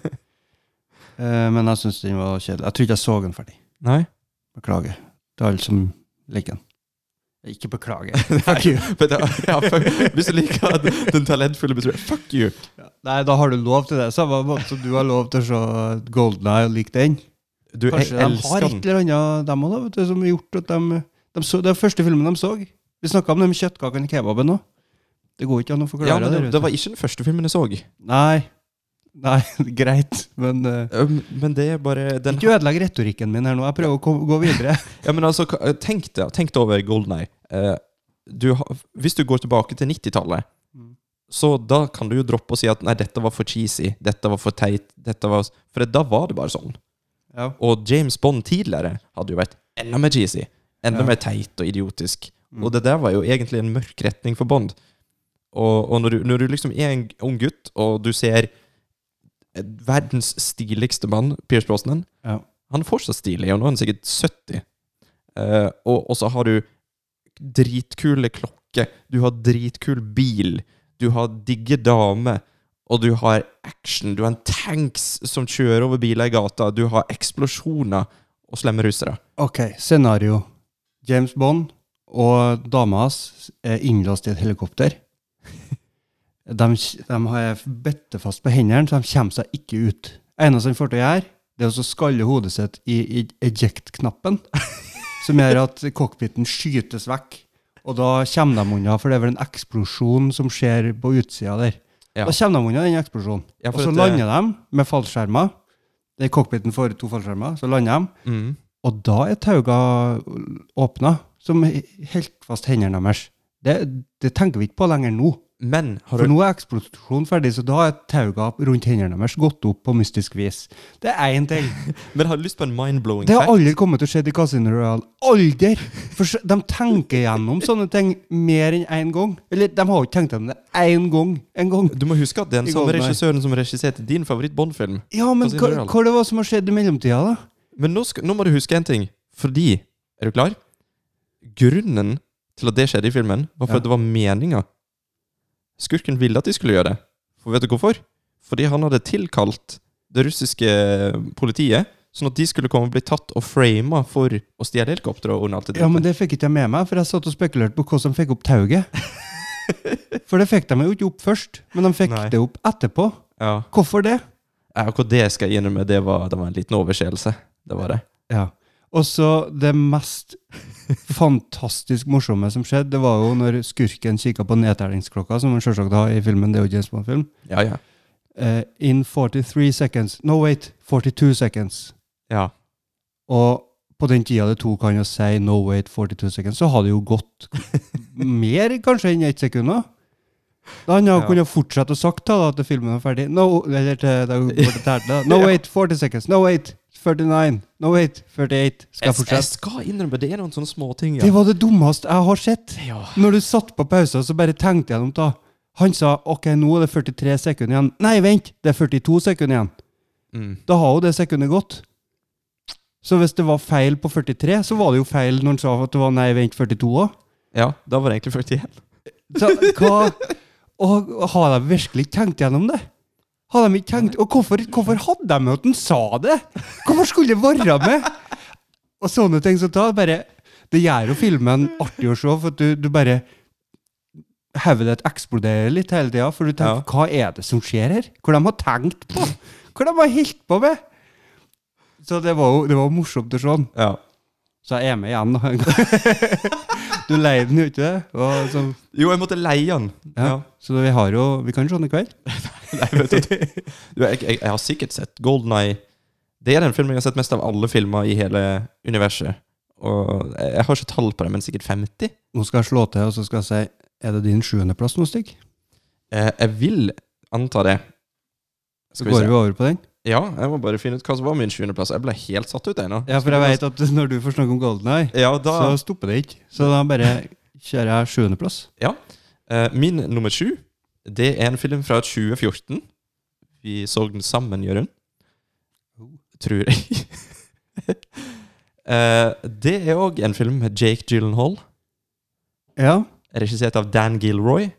Eh, men jeg syns den var kjedelig. Jeg tror ikke jeg så den ferdig. Nei. Beklager til alle som liker den. Ikke beklager. Fuck you. Men da, ja, fuck, hvis du liker den, den talentfulle betroen Fuck you! Nei, da har du lov til det. Samme måte som du har lov til å se Golden Eye og like den. Du, jeg Kanskje de elsker har den. et eller annet, dem også, da, vet du, som har gjort at de, de så, Det er første filmen de så. Vi snakka om de kjøttkakene i kebaben òg. Det går ikke an å Ja, forklare men det, vet det du. var ikke den første filmen jeg så. Eh, Nei. Nei, greit, men eh, Um, men det er bare den Ikke ødelegg retorikken min her nå. Jeg prøver å ko- gå videre. Ja, men altså, ka- tenk deg tenk deg over Golden Eye. Eh, du, har- hvis du går tilbake til 90-tallet, så da kan du jo droppe å si at nei, dette var for cheesy, dette var for teit, dette var For da var det bare sånn. Ja. Og James Bond tidligere hadde jo vært enda mer cheesy. Enda mer teit og idiotisk. Og det der var jo egentlig en mørk retning for Bond. Og, og når, du, når du liksom er en ung gutt, og du ser verdens stiligste mann, Pierce Brosnan. Ja. Han er fortsatt stilig, og nå er han sikkert 70. Eh, og, og så har du dritkule klokker, du har dritkul bil, du har digge damer, og du har action. Du har en tanks som kjører over biler i gata, du har eksplosjoner og slemme russere. Ok, scenario. James Bond og dama hans er innlåst i et helikopter. De, de har bitt fast på hendene, så de kommer seg ikke ut. Eneste han får til å gjøre, det er å skalle hodet sitt i, i eject-knappen, som gjør at cockpiten skytes vekk. Og da kommer de unna, for det er vel en eksplosjon som skjer på utsida der. Ja. Da kommer de unna den eksplosjonen. Ja, for og så at det- lander de med fallskjermer. Den cockpiten får to fallskjermer, så lander de. Mm. Og da er tauga åpna, som helt fast hendene deres. Det, det tenker vi ikke på lenger nå. Men har For du nå er eksplosjonen ferdig, så da er tauga rundt hendene deres gått opp på mystisk vis. Det er én ting. Men har du lyst på en mind-blowing Det har fact? aldri kommet til å skje i Casino Royale. Aldri! For så- de tenker gjennom sånne ting mer enn én gang. Eller de har jo ikke tenkt gjennom det én gang. En gang. Du må huske at det er den I samme går, nei. regissøren som regisserte din favoritt-Bond-film. Ja, men Casino hva, Royale. hva det var som har skjedd i mellomtida, da? Men nå, skal, nå må du huske en ting. Fordi Er du klar? Grunnen til at det skjedde i filmen, var for Ja. at det var meninga. Skurken ville at de skulle gjøre det. For vet du hvorfor? Fordi han hadde tilkalt det russiske eh, politiet, sånn at de skulle komme og bli tatt og frama for å stjele helikoptre og ordne alt det Ja, men det fikk ikke jeg med meg, for jeg satt og spekulerte på hvordan de fikk opp tauet. For det fikk de jo ikke opp først, men de fikk Nei. det opp etterpå. ja. Hvorfor det? Ja, Akkurat det skal jeg innrømme, det var, det var en liten overseelse. Det var det. Ja. Og så det mest fantastisk morsomme som skjedde, det var jo når skurken kikka på nedtellingsklokka, som han selvsagt har i filmen, det er jo James Bond-film. Ja, ja. Eh, in 43 seconds. No, wait. 42 seconds. ja. Og på den tida det tok han å si 'no wait 42 seconds', så har det jo gått mer kanskje enn ett sekund. da. Da han ja. Ja. kunne fortsette å sagt til da, at filmen var ferdig no, Eller til da går det tært, da. 'No Ja. wait 40 seconds'. 'No wait 39'. 'No wait 48'. Skal jeg Jeg, jeg fortsette? skal innrømme, det er noen sånne småting. Det var det dummeste jeg har sett. Ja. Når du satt på pausen, så bare tenkte jeg om da. Han sa 'OK, nå er det 43 sekunder igjen'. Nei, vent! Det er 42 sekunder igjen. Mm. Da har jo det sekundet gått. Så hvis det var feil på 43, så var det jo feil når han sa at det var nei, vent, 42 òg. ja, da var det egentlig 41. Så hva Og har de virkelig ikke tenkt gjennom det? Har de ikke tenkt Og hvorfor, hvorfor hadde de med at han sa det? Hvorfor skulle det være med? Og sånne ting som da bare Det gjør jo filmen artig å se, for at du, du bare Hodet ditt eksploderer litt hele tida, for du tenker Ja. Hva er det som skjer her? Hva de har tenkt på? Hva de har holdt på med? Så det var jo det var morsomt å se. den. Ja. Så jeg er med igjen. da. Du leide den jo ikke? det? Og sånn Jo, jeg måtte leie den. ja. Ja. Så vi har jo Vi kan se den i kveld. Nei, vet du. Du, jeg, jeg, jeg har sikkert sett Golden Eye. Det er den filmen jeg har sett mest av alle filmer i hele universet. Og jeg, jeg har ikke tall på det, men sikkert 50. Nå skal jeg slå til, og så skal jeg si Er det din sjuendeplass nå, Stig? Eh, jeg vil anta det. Så Skal vi går vi se. over på den. Ja, jeg må bare finne ut hva som var min sjuendeplass. Jeg ble helt satt ut, jeg nå. Ja, for jeg vet at når du får snakke om Golden Eye, Ja, da så stopper det ikke. Så da bare kjører jeg sjuendeplass. Eh, Min nummer sju Det er en film fra 2014 Vi så den sammen, Jørund Tror jeg Eh, Det er også en film med Jake Gyllenhaal Ja. Regissert av Dan Gilroy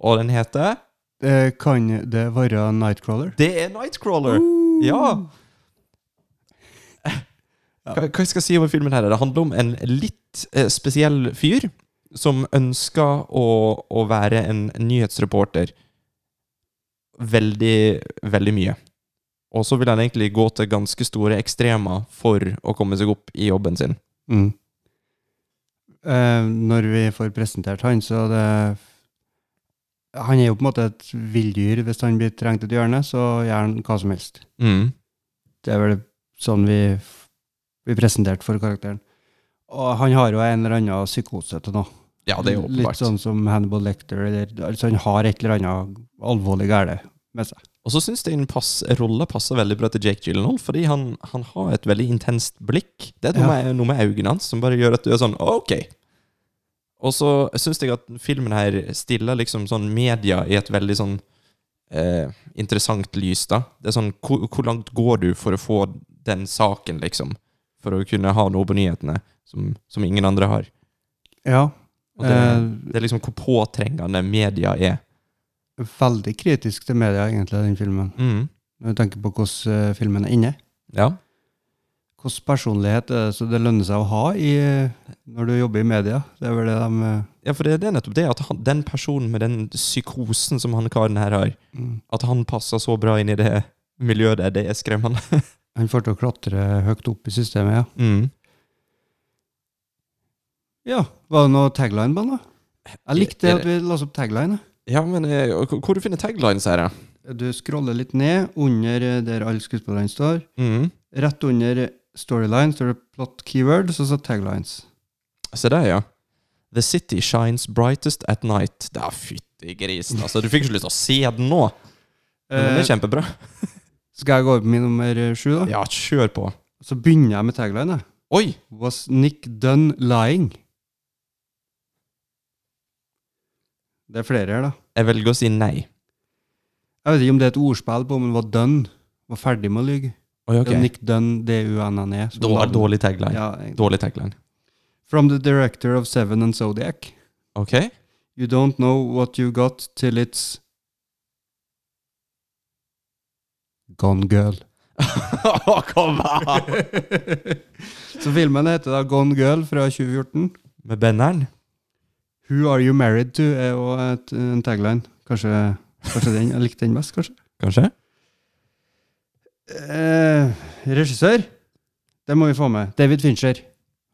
Og den heter Det kan det være Nightcrawler? Det er Nightcrawler Ja hva, hva skal jeg si om filmen her? Det handler om en litt eh, spesiell fyr som ønsker å, å være en nyhetsreporter veldig, veldig mye. Og så vil han egentlig gå til ganske store ekstremer for å komme seg opp i jobben sin. Mm. Eh, når vi får presentert han, så det Han er jo på en måte et villdyr. Hvis han blir trengt et hjørne, så gjør han hva som helst. Mm. Det er vel sånn vi blir presentert for karakteren. Og han har jo en eller annen psykose til noe. Ja, det er jo Litt åpenbart. sånn som Hannibal Lecter, eller altså han har et eller annet alvorlig galt med seg. Og så syns jeg den pass, rolla passer veldig bra til Jake Gyllenhaal, fordi han, han har et veldig intenst blikk. Det er noe, med, noe med øynene hans som bare gjør at du er sånn OK. Og så syns jeg at filmen her stiller liksom sånn media i et veldig sånn eh, interessant lys, da. Det er sånn, hvor, hvor langt går du for å få den saken, liksom? For å kunne ha noe på nyhetene som, som ingen andre har. Ja. Og det, Eh. det er liksom hvor påtrengende media er. Veldig kritisk til media, egentlig, den filmen. Mm. Når du tenker på hvordan eh, filmen er inne. Ja. Hvilken personlighet er det så det lønner seg å ha i, når du jobber i media? Det er vel det de eh, ja, for det, det er nettopp det at han, den personen med den psykosen som han karen her har, Mm. at han passer så bra inn i det miljøet der, det er skremmende. Han får til å klatre høyt opp i systemet, ja. Mm. Ja, Var det noe tagline på den, da? Jeg likte det Er- er at vi la oss opp tagline. Ja, men eh, og hvor hvor du finner taglines her, ja? ja. Du scroller litt ned, under eh, der alle skuespillerne står. Mm. Rett under storyline står det plot keywords, og så taglines. Se der, ja. The city shines brightest at night. Da, fytti grisen, altså. Du fikk ikke lyst til å se den nå. Men den Eh, er kjempebra. skal jeg gå over på min nummer eh, sju, da? Ja, kjør på. Så begynner jeg med tagline. jeg. Oi! Was Nick Dunn lying? Det er flere her, da. Jeg velger å si nei. Jeg vet ikke om det er et ordspill på om han var done. Var ferdig med å lyge. Oi, ok. Det er Nick Dunn, D-U-N-N-E. E, som Dårlig, lager- dårlig tagline. Ja, egentlig. Dårlig tagline. From the director of Seven and Zodiac. Ok. You don't know what you got till it's Gone Girl. Kom an! Så filmen heter da Gone Girl fra 2014. Med benneren. Who are you married to? er jo et, en tagline. Kanskje, kanskje den. Jeg likte den best, kanskje. Kanskje? Eh, regissør? Det må vi få med. David Fincher.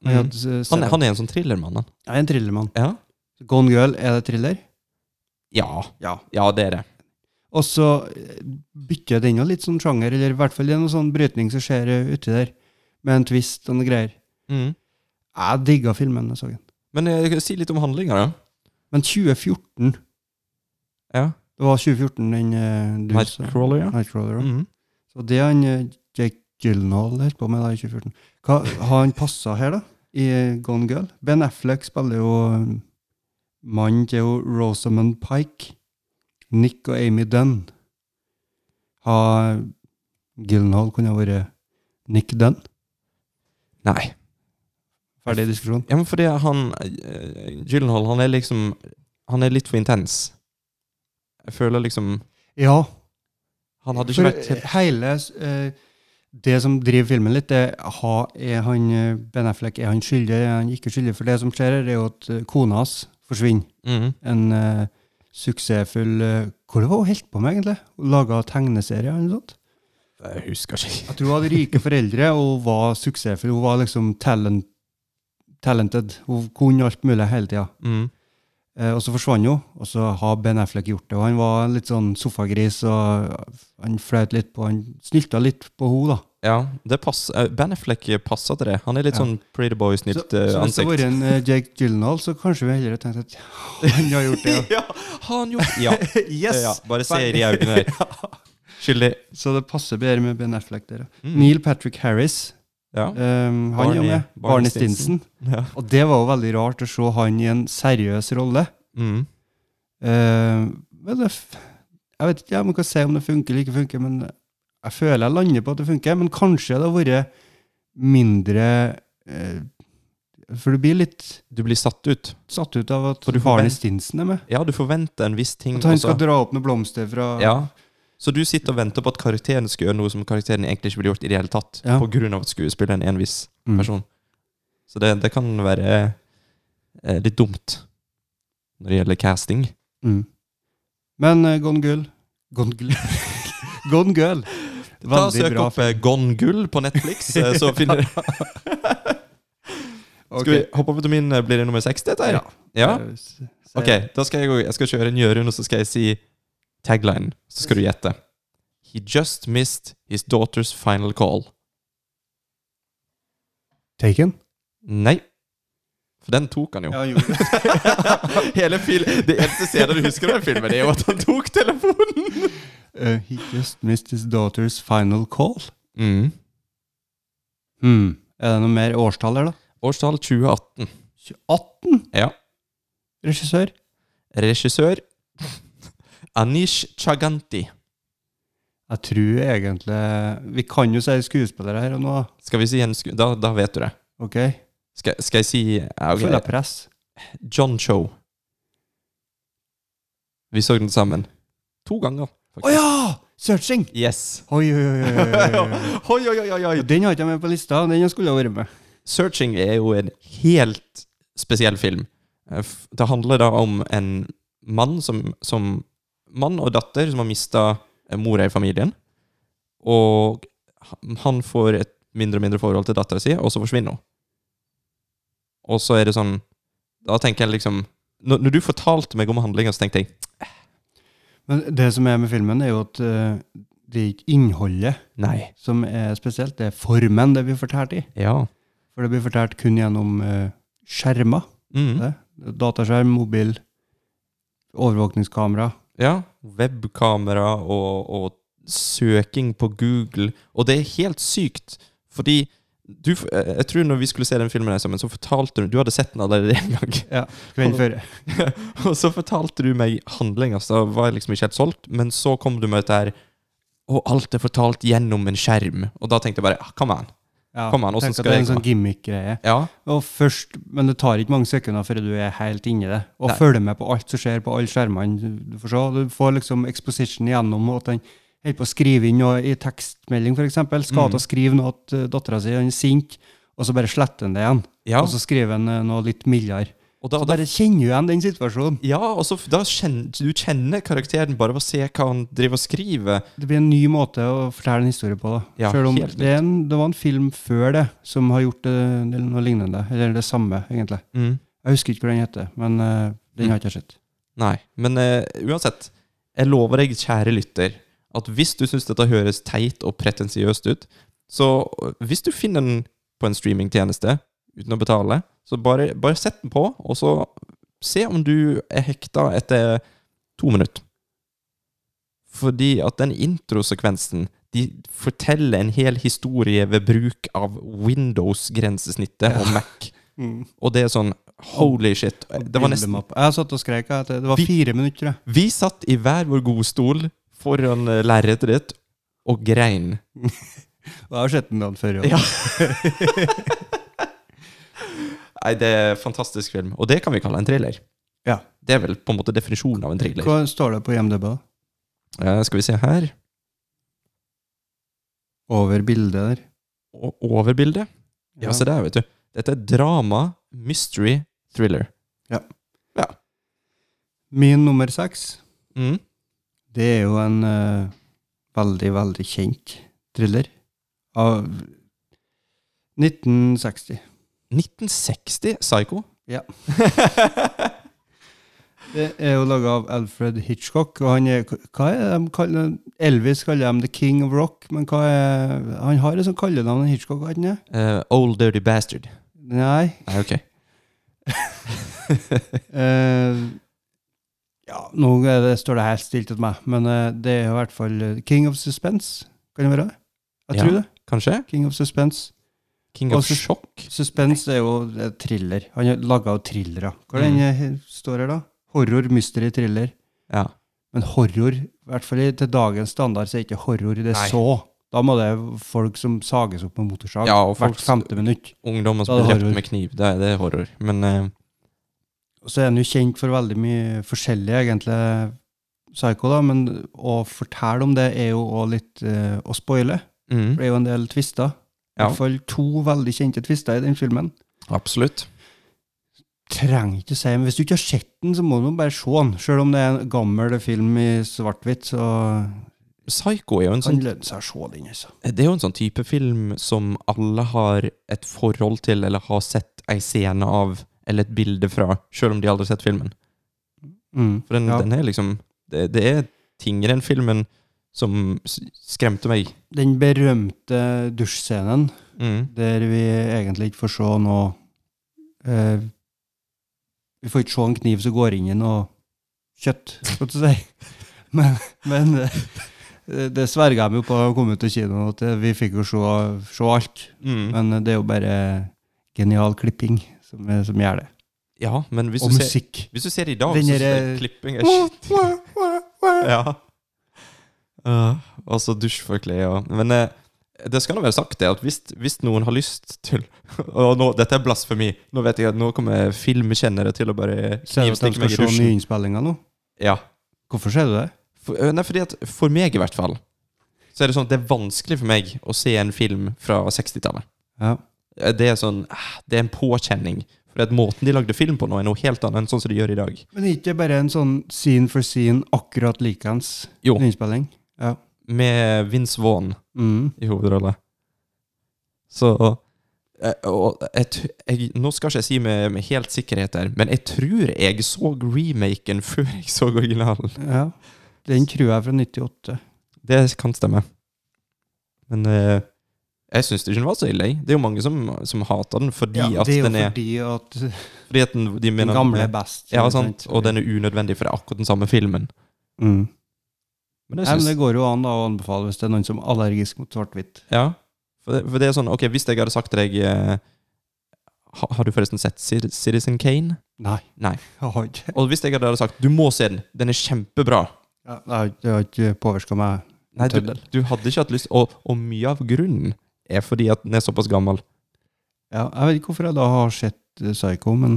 Han, Mm. hadde, eh, Han, er- Seven. han er en sånn thrillermann, han. Jeg er en thrillermann. Ja. Gone Girl, er det thriller? ja. Ja. Ja, det er det. Og så eh, bytter den jo litt sånn sjanger, eller i hvert fall det er noen sånn brytning som skjer eh, uti der, med en twist og noe greier. Mm. Jeg digga filmen da jeg så den. Men eh, si litt om handlinga, da. Men 2014 Ja. Det var 2014 den eh, du sa. Nightcrawler, ja. Nightcrawler, ja. Mm. Så det han eh, Jake Gyllenhaal holdt på med da i 2014 Hva Har han passa her, da? I eh, Gone Girl? Ben Affleck spiller jo eh, mannen til jo Rosamund Pike. Nick og Amy Dunn. Har Gyllenhaal kunne ha vært Nick Dunn? Nei. Ferdig diskusjon. Ja, men fordi han eh, Gyllenhaal, han er liksom Han er litt for intens. Jeg føler liksom Ja. Han hadde ikke For vært helt hele eh, Det som driver filmen litt, det er, ha- er han eh, Ben Affleck er han skyldig, er han ikke skyldig? For det som skjer, her er jo at eh, kona hans forsvinner. mm. En eh, suksessfull eh, Hvor det var hun holdt på med, egentlig? Hun Laga tegneserier eller noe sånt? Jeg husker ikke. Jeg tror hun hadde rike foreldre, og hun var suksessfull. Hun var liksom talent, talented. Hun kunne alt mulig hele tida. Mm. Eh, og så forsvant hun, og så har Ben Affleck gjort det. Og han var litt sånn sofagris, og han fløyt litt på Han snylta litt på henne, da. Ja, det passer. eh, Ben Affleck passer til det. Han er litt Ja. sånn Pretty Så, Boy-snilt så hvis det ansikt. var en eh, Jake Gyllenhaal, så kanskje vi heller tenkte at ja, han har gjort det. ja, han gjorde Ja. Yes! ja. Bare se i de øynene der. Skyldig. Så det passer bedre med Ben Affleck der. ja. Neil Patrick Harris, Ja. um, han Mm. Barney- er jo med. Barney Barney Stinson. Stinson. ja. Og det var jo veldig rart å se han i en seriøs rolle. Mm. Eh, men det, f- jeg vet ikke om jeg kan si om det funker eller ikke funker, men jeg føler jeg lander på at det funker. Men kanskje det har vært mindre eh, For du blir litt Du blir satt ut. satt ut av at For du får Barney vent- Stinson er med. Ja, du forventer en viss ting. At han og så- skal dra opp noen blomster fra Ja. Så du sitter og venter på at karakteren skal gjøre noe som karakteren egentlig ikke ville gjort i det hele tatt, Ja. på grunn av at skuespilleren er en viss Mm. person. Så det, det kan være eh, litt dumt når det gjelder casting. Mm. Men eh, Gone Girl Gone Girl, Gone Girl. Ta og Veldig Søk bra. opp eh, Gone Gull på Netflix, eh, så finner du Skal vi Ok. hoppe over til min eh, Blir det nummer 60, dette her? Ja. Eh, s- s- Ok, da skal jeg, gå- jeg skal kjøre en gjørund, og så skal jeg si tagline. Så skal du gjette. He just missed his daughter's final call. Taken? Nei. For den tok han jo. Ja, han gjorde det. Hele fil Det eneste stedet du husker av den filmen, det er jo at han tok telefonen! Eh, he just missed his daughter's final call. Mm. Hmm. Er det noe mer årstall her, da? Årstall 2018. 2018? Ja. Regissør? Regissør Anish Chaganti. Jeg tror egentlig Vi kan jo si skuespillere her og nå, Skal vi si en sku... Da, da vet du det. OK? Skal, skal jeg si ja, ok. Føler jeg press. John Cho. Vi så den sammen. To ganger. Å ja! Searching! Yes. Oi, oi, oi, oi, oi. oi. Oi, oi, oi, oi. Den har ikke jeg med på lista, og den skulle jeg vært med. Searching er jo en helt spesiell film. Eh, f- Det handler da om en mann som, som Mann og datter som har mista mora i familien. Og han- han får et mindre og mindre forhold til dattera si, og så forsvinner hun. Og så er det sånn Da tenker jeg liksom Når, når du fortalte meg om handlinga, så tenkte jeg Men det som er med filmen, er jo at eh, det er ikke innholdet Nei. som er spesielt, det er formen det blir fortalt i. Ja. For det blir fortalt kun gjennom eh, skjermer. Mm. Det. Dataskjerm, mobil, overvåkningskamera. Ja. Webkamera og, og søking på Google. Og det er helt sykt, fordi du, f- eh, jeg tror når vi skulle se den filmen her sammen, så fortalte du Du hadde sett den allerede en gang. Ja, Kvelden før. og så fortalte du meg handlinga, så da var jeg liksom ikke helt solgt. Men så kom du med dette her Og alt er fortalt gjennom en skjerm. Og da tenkte jeg bare ah, Come on. Ja, Kom an, hvordan tenk at skal det er en jeg sånn komme? gimmick-greie. Ja. Og først, Men det tar ikke mange sekunder før du er helt inni det. Og Nei. følger med på alt som skjer på alle skjermene. Du får, se, du får liksom exposition igjennom, og at han holder på å skrive inn noe i tekstmelding, f.eks. Mm. Skal til å skrive noe til dattera si, han er sint, og så bare sletter han det igjen. Ja. Og så skriver han eh, noe litt mildere. Og da, Så da, bare kjenner du igjen den situasjonen. ja, og så f- da kjenner, du kjenner karakteren bare ved å se hva han driver og skriver. Det blir en ny måte å fortelle en historie på. da. Ja, Selv om helt nytt. det, er en, det var en film før det som har gjort eh, noe lignende. Eller det samme, egentlig. Mm. Jeg husker ikke hva den heter, men eh, den har ikke jeg sett. Nei, men eh, uansett Jeg lover deg, kjære lytter At hvis du synes dette høres teit og pretensiøst ut Så eh, hvis du finner den på en streamingtjeneste Uten å betale Så bare, bare sett den på Og så se om du er hekta etter to minutter Fordi at den introsekvensen De forteller en hel historie ved bruk av Windows-grensesnittet og Mac Og det er sånn, holy shit Det var nesten Bildemapp. Jeg satt og skrek. jeg, at Det det var Vi- fire minutter, tror jeg. vi satt i hver vår godstol foran eh, lerretet ditt og grein. Og jeg har sett den dagen før. Ja. Ja. Nei, det er en fantastisk film. Og det kan vi kalle en thriller. Ja. Det er vel på en måte definisjonen av en thriller. Hva står det på IMDb? da? Eh, skal vi se her. Over bildet der. O over bildet. Ja, se der, vet du. Dette er drama, mystery, thriller. Min nummer seks, Mm. det er jo en eh, veldig, veldig kjent thriller. Av 1960. 1960, Psycho. Ja. Det er jo laga av Alfred Hitchcock, og han er Hva er det de kaller Elvis kaller dem The King of Rock, men hva er Han har et sånt kallenavn, Hitchcock, har han ikke? Eh, old Dirty Bastard. Nei. Nei, ok. Eh, ja, nå er det, står det helt stilt til meg, men eh, det er i hvert fall eh, King of Suspense. Kan det være? Jeg Ja. tror det. Kanskje? King of Suspense. King of Også- Shock? Suspense er jo eh, thriller. Han har laga jo thrillere. Hva er den eh, står her, da? Horror, mystery, thriller. Ja. Men horror, i hvert fall i- til dagens standard, så er ikke horror det Nei. så. Da må det folk som sages opp med motorsag Ja, og folk- hvert femte minutt. Ungdommer som Da er det blir drept horror. med kniv. Det er, det er horror. Men eh, Og så er han jo kjent for veldig mye forskjellig, egentlig, Psycho, da, men å fortelle om det er jo også litt eh, å spoile. mm. For det er jo en del twister. I Ja. hvert fall to veldig kjente twister i den filmen. Absolutt. Trenger ikke si, men hvis du ikke har sett den, så må du bare se den. Selv om det er en gammel film i svart-hvitt, så Psycho er jo, en kan sånn, det lønne seg å se den, altså. det er jo en sånn type film som alle har et forhold til, eller har sett ei scene av, eller et bilde fra, sjøl om de aldri har sett filmen. Mm. For den, Ja. den er liksom det, det er ting i den filmen som s- skremte meg. Den berømte dusjscenen, Mm. der vi egentlig ikke får se noe eh, Vi får ikke se en kniv som går inn i noe kjøtt, skal du si. Men, men eh, det sverga de jo på da de kom ut av kinoen, at eh, vi fikk jo se, se alt. Mm. Men eh, det er jo bare genial klipping som, eh, som gjør det. Ja, men hvis Og du, ser, musikk. hvis du ser det i dag, Den så derre- er klipping er shit. ja. Øh, og så dusjforkle og Men eh, det skal nå være sagt, det, at hvis, hvis noen har lyst til Og nå, dette er blasfemi. Nå vet jeg at nå kommer filmkjennere til å bare Ser du at de knivstikke meg skal i se dusjen. nyinnspillinga nå? Ja. Hvorfor ser du det? For, øh, nei, fordi at for meg, i hvert fall, så er det sånn at det er vanskelig for meg å se en film fra 60-tallet. Ja. Eh, Det er sånn ah, Det er en påkjenning. For at måten de lagde film på nå, er noe helt annet enn sånn som de gjør i dag. Men er ikke det bare en sånn scene for scene akkurat likeens Jo. innspilling? Ja. Med Vince Vaughn Mm. i hovedrolle. Så eh, og jeg, t- jeg, Nå skal ikke jeg si med, med helt sikkerhet her, men jeg tror jeg så remaken før jeg så originalen. ja. Den tror jeg er fra 98. Det kan stemme. Men eh, jeg syns ikke den var så ille. jeg. Det er jo mange som, som hater den fordi at det er jo den er fordi at Fordi at den, de den mener gamle den er er, best. ja, sant? Og den er unødvendig, for det er akkurat den samme filmen. mm. Men jeg Nei, men synes, Det går jo an da å anbefale hvis det er noen som er allergisk mot svart-hvitt. Ja, for det, for det er sånn Ok, hvis jeg hadde sagt til deg eh, ha, Har du forresten sett Cit- Citizen Kane? Nei. Nei. Jeg har ikke, Og hvis jeg hadde sagt Du må se den, den er kjempebra Ja, jeg har ikke- jeg har ikke påvirka meg. Nei, du, Tøddel. du hadde ikke hatt lyst og, og mye av grunnen er fordi at den er såpass gammel Ja, jeg vet ikke hvorfor jeg da har sett eh, Psycho, men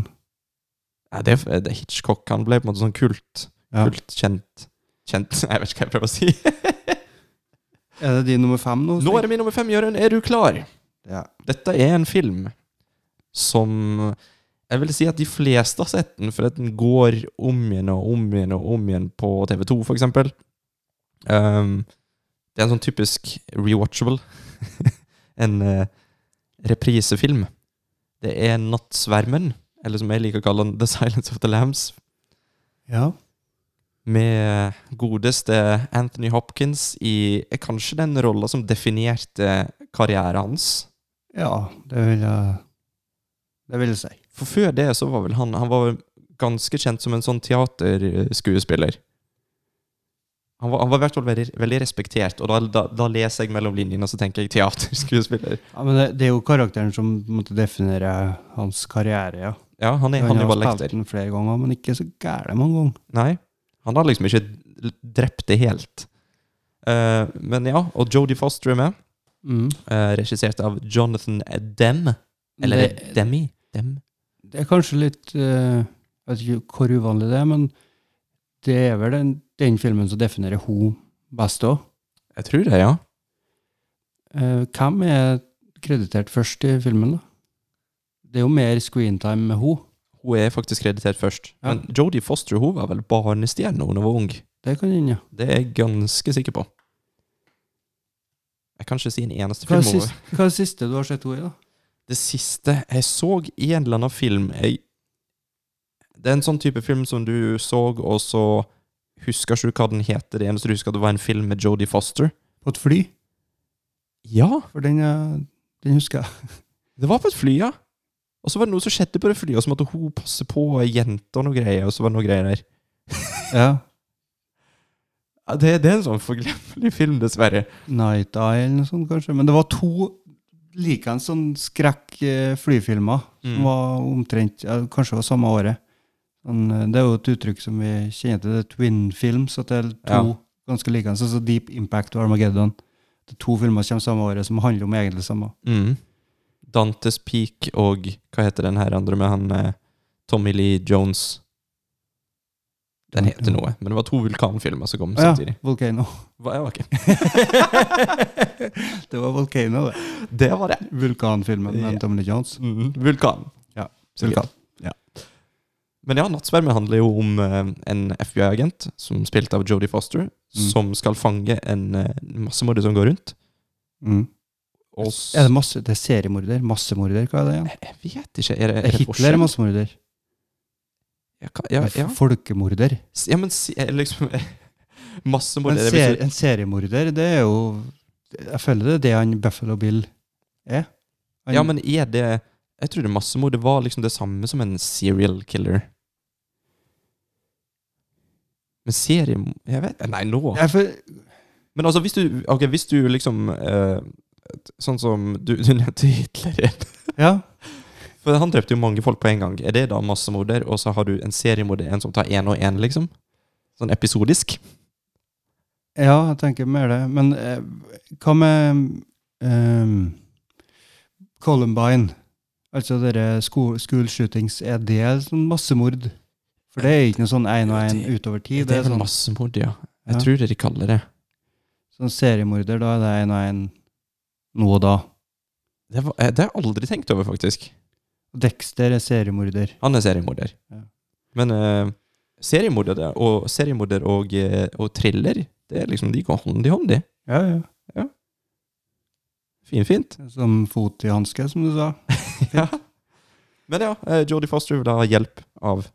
Nei, det, er- det er Hitchcock Han ble på en måte sånn kult ja. Kult, kjent Kjent Jeg vet ikke hva jeg prøver å si Er det din nummer fem nå? Nå er det min nummer fem, Jørgen Er du klar? Ja. Dette er en film som Jeg vil si at de fleste har sett den, for at den går om igjen og om igjen og om igjen på TV2, for eksempel. Ehm, det er en sånn typisk rewatchable. en eh, reprisefilm. Det er 'Nattsvermen', eller som jeg liker å kalle den, 'The Silence of the Lambs', ja. med godeste Anthony Hopkins i eh, kanskje den rolla som definerte karrieren hans. Ja, det vil jeg Det vil jeg si. For før det så var vel han Han var vel ganske kjent som en sånn teaterskuespiller. Han var, han var i hvert fall veldig, veldig respektert, og da, da, da leser jeg mellom linjene og så tenker jeg teaterskuespiller. Ja, men det, det er jo karakteren som måtte definere hans karriere, ja. Ja, han er Han Hannibal har spilt Lecter. den flere ganger, men ikke så gære mange ganger. Nei, han har liksom ikke l- drept det helt. Eh, men ja, og Jodie Foster er med, Mm. eh, regissert av Jonathan Dem. Eller det, Demi? Dem. det er kanskje litt eh, Jeg vet ikke hvor uvanlig det er, men det er vel den, den filmen som definerer hun best òg. Jeg tror det, ja. Eh, hvem er kreditert først i filmen, da? Det er jo mer screentime med hun. Hun er faktisk kreditert først. Ja. Men Jodie Foster hun var vel barnestjerne da hun var ung? Det kan hende, ja. Det er jeg ganske sikker på. Jeg kan ikke si en eneste Hva er film. det siste, over- hva er det siste du har sett henne i, da? Det siste jeg så i en eller annen film jeg, Det er en sånn type film som du så, og så husker ikke du hva den heter. Det eneste du husker, at det var en film med Jodie Foster. På et fly? Ja, For den, eh, den husker jeg. det var på et fly, ja. Og så var det noe som skjedde på det flyet, og så måtte hun passe på ei jente og noe greier. og så var det noe greier der. Ja. Ja, det, det er en sånn forglemmelig film, dessverre. Night Eye eller noe sånt, kanskje. Men det var to likeens sånn skrekk-flyfilmer som Mm. var omtrent ja, Kanskje det var samme året. Sånn, eh, det er jo et uttrykk som vi kjenner til. Det er twin films. At det er to Ja. ganske likeens. Altså Deep Impact og Armageddon. Det er to filmer som kommer samme året, som handler om egentlig det samme. Mm. Dantes Peak og hva heter den her andre med han eh, Tommy Lee Jones? Den heter noe, men det var to vulkanfilmer som Å kom ja, Mm, samtidig. Volcano. Hva, ja, ok. Det var Volcano, det. Det var det. Vulkanfilmen med Ja. Tommy Lee Jones. Mm, vulkan. Ja, Sikkert. vulkan. Men ja, Nattsverme handler jo om eh, en FBI-agent som spilt av Jodie Foster, Mm. som skal fange en eh, massemorder som går rundt. Mm. Og s- Er det masse, det er seriemorder? Massemorder, hva er det igjen? Jeg vet ikke. Er det, Er Hitler massemorder? Ja, hva- ja, ja. Folkemorder? S- ja, men si- eh, liksom Massemorder En, det ser, betyr- en seriemorder, det er jo Jeg føler det er det han Buffalo Bill er. Han- Ja, men er det Jeg trodde massemord det var liksom det samme som en serial killer. Men serie Jeg vet Nei, nå jeg, føl- Men altså, hvis du Ok, hvis du liksom eh, Sånn som du, du nevnte Hitler igjen. ja, For han drepte jo mange folk på en gang. Er det da massemorder, og så har du en seriemorder, en som tar én og én, liksom? Sånn episodisk? Ja, jeg tenker mer det. Men eh, hva med ehm, Columbine? Altså dere school, school shootings, er det sånn massemord? For det er ikke noe sånn én og én Det- utover Det, tid. Det er er vel sånn, massemord, ja. Jeg Ja. tror det de kaller det. sånn seriemorder, da er det én og én nå og da. Det, var, eh, det har jeg aldri tenkt over, faktisk. Dexter er seriemorder. Han er seriemorder. Ja. Men eh, seriemorder det- og, seriemorder og, eh, og thriller, det er liksom, de går hånd i hånd, de. Ja, ja. Finfint. Som fot i hanske, som du sa. ja. Men ja, eh, Jodie Foster vil ha hjelp av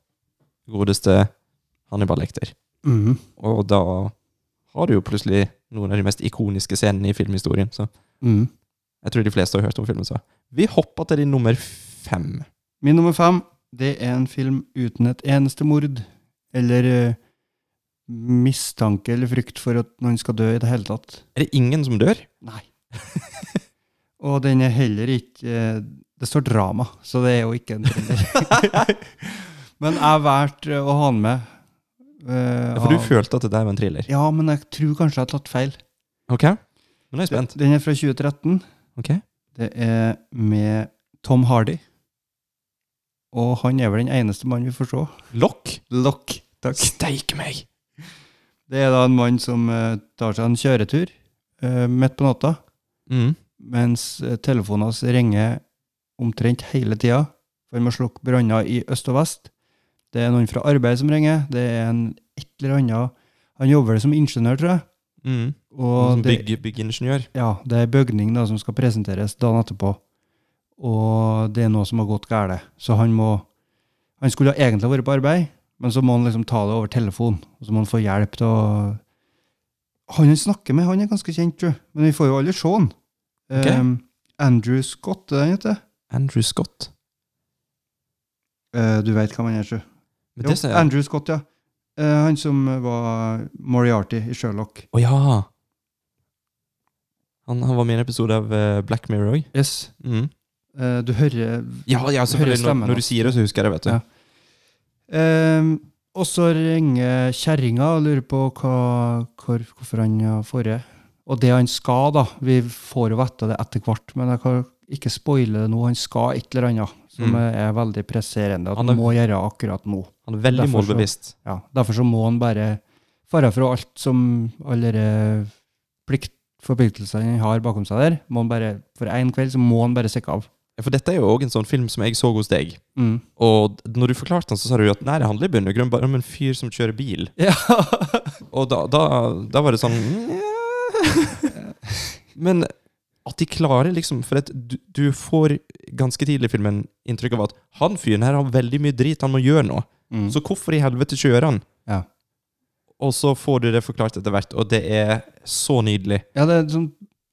godeste Hannibal Lekter. Mhm. Og da har du jo plutselig noen av de mest ikoniske scenene i filmhistorien. Så Mhm. jeg tror de fleste har hørt om filmen. så. Vi hopper til din nummer fem. Min nummer fem, det er en film uten et eneste mord, eller eh, mistanke eller frykt for at noen skal dø i det hele tatt. Er det ingen som dør? Nei. Og den er heller ikke eh, Det står drama, så det er jo ikke en thriller. men jeg valgte å ha den med. eh, Ja, For du av- følte at det der var en thriller? Ja, men jeg tror kanskje jeg har tatt feil. Ok, nå er jeg spent. Den er fra 2013. Ok. Det er med Tom Hardy. Og han er vel den eneste mannen vi får se. Lokk? Lock. Takk. Steike meg! Det er da en mann som eh, tar seg en kjøretur eh, midt på natta, Mm. mens eh, telefonen hans ringer omtrent hele tida. For han må slukke branner i øst og vest. Det er noen fra arbeid som ringer. Det er en et eller annet Han jobber vel som ingeniør, tror jeg. Mm. Og Som det, bygg, byggingeniør. ja, det er bygning da, som skal presenteres dagen etterpå. Og det er noe som har gått galt. Så han må Han skulle ha egentlig vært på arbeid, men så må han liksom ta det over telefon. Og så må han få hjelp til å Han han snakker med, han er ganske kjent, tror jeg. Men vi får jo aldri se han. Ok. Ehm, Andrew Scott, er det han heter? Andrew Scott. Eh, du veit hvem han er, tror jeg. Men Jo, det ser jeg. Andrew Scott, ja. Eh, han som var Moriarty i Sherlock. Å ja! Han, han var med i en episode av eh, Black Mirror òg. Yes. Mm. Eh, du hører Ja, ja, selvfølgelig. stemmen Når, når du hans. sier det, så husker jeg det, vet du. Ja. Ehm, og så ringer kjerringa og lurer på hva, hvor, hvorfor han har forrige. Og det han skal, da Vi får jo vite det etter hvert, men jeg kan ikke spoile det nå. Han skal et eller annet som Mm. eh, er veldig presserende at Han han er- må gjøre akkurat nå. Han er veldig Derfor så- målbevisst. Ja, derfor så må han bare fare fra alt som alle de plikt, forpliktelsene han har bakom seg der. Må han bare, for én kveld så må han bare stikke av. Ja, For dette er jo òg en sånn film som jeg så hos deg. Mm. Og d- når du forklarte den, så sa du at nei, det handler i bunn og grunn bare om en fyr som kjører bil. Ja. Og da, da, da var det sånn Men at de klarer liksom For at du, du får ganske tidlig i filmen inntrykk av at han fyren her har veldig mye drit han må gjøre nå. Mm. Så hvorfor i helvete kjører han? Ja. Og så får du det forklart etter hvert, og det er så nydelig. Ja, det er en sånn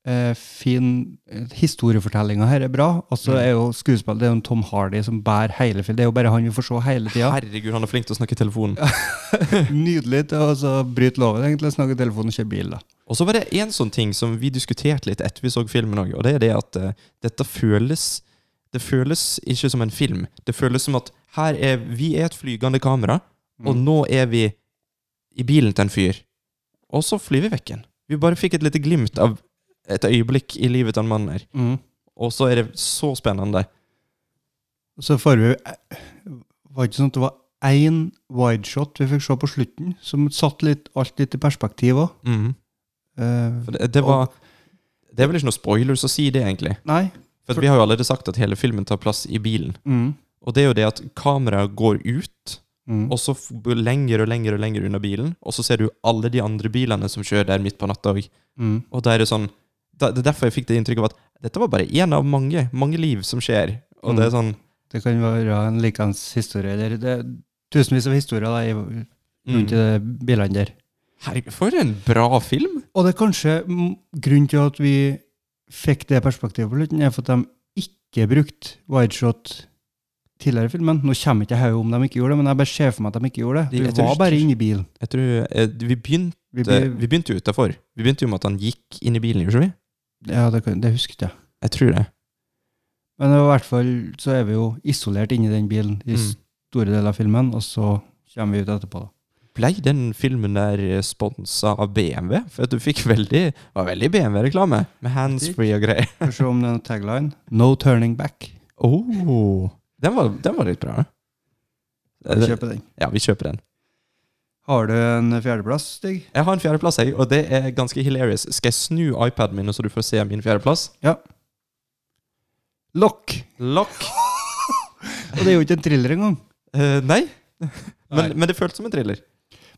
eh, fin eh, Historiefortellinga her er bra. Og så Mm. er jo skuespillet Det er jo en Tom Hardy som bærer hele filmen. Det er jo bare han vi får se hele tida. Herregud, han er flink til å snakke i telefonen. Nydelig til å så bryte loven, egentlig. Snakke i telefonen og kjøre bil, da. Og så var det en sånn ting som vi diskuterte litt etter vi så filmen òg, og det er det at eh, dette føles Det føles ikke som en film. Det føles som at her er Vi er et flygende kamera, og nå er vi i bilen til en fyr. Og så flyr vi vekk igjen. Vi bare fikk et lite glimt av et øyeblikk i livet til en mann her. Mm. Og så er det så spennende. Så får vi eh, Var det ikke sånn at det var én wideshot vi fikk se på slutten, som satte litt, alt litt i perspektiv Eh, òg? Mhm. For det, det var Det er vel ikke noe spoilers å si det, egentlig. nei. For at vi har jo allerede sagt at hele filmen tar plass i bilen. Mm. Og det er jo det at kameraet går ut, Mm. og så f- lenger og lenger og lenger unna bilen, og så ser du alle de andre bilene som kjører der midt på natta òg. Mm. Og da er det sånn da, Det er derfor jeg fikk det inntrykket av at dette var bare én av mange, mange liv som skjer. Og det Mm. er sånn Det kan være en likeens historie, eller det er tusenvis av historier da, i, rundt i mm. de bilene der. Hei, for en bra film! Og det er kanskje mm, grunnen til at vi fikk det perspektivet på slutten, er for at de ikke brukte wideshot tidligere i filmen. Nå kommer ikke jeg hodet om de ikke gjorde det, men jeg bare ser for meg at de ikke gjorde De- det. jeg Vi tror var ikke- bare inne i bilen. Jeg tror eh, Vi begynte, Vi ble, vi begynte jo utafor. Vi begynte jo med at han gikk inn i bilen, gjorde vi? ja, det, kan- det husket jeg. Jeg tror det. Men i hvert fall så er vi jo isolert inni den bilen i Mm. store deler av filmen, og så kommer vi ut etterpå, da. Blei den filmen der sponsa av BMW? For at du fikk veldig, det var veldig BMW-reklame. Med handsfree og greier. Skal vi se om det er noen tagline. No turning back. Oh, den, var, den var litt bra. Kjøp den. Ja, vi kjøper den. Har du en fjerdeplass, Stig? Jeg har en fjerdeplass, jeg, og det er ganske hilarious. Skal jeg snu iPaden min, så du får se min fjerdeplass? Ja. Lock. Lock. Og det er jo ikke en thriller engang. Eh, nei. Men, Nei. men det føltes som en thriller.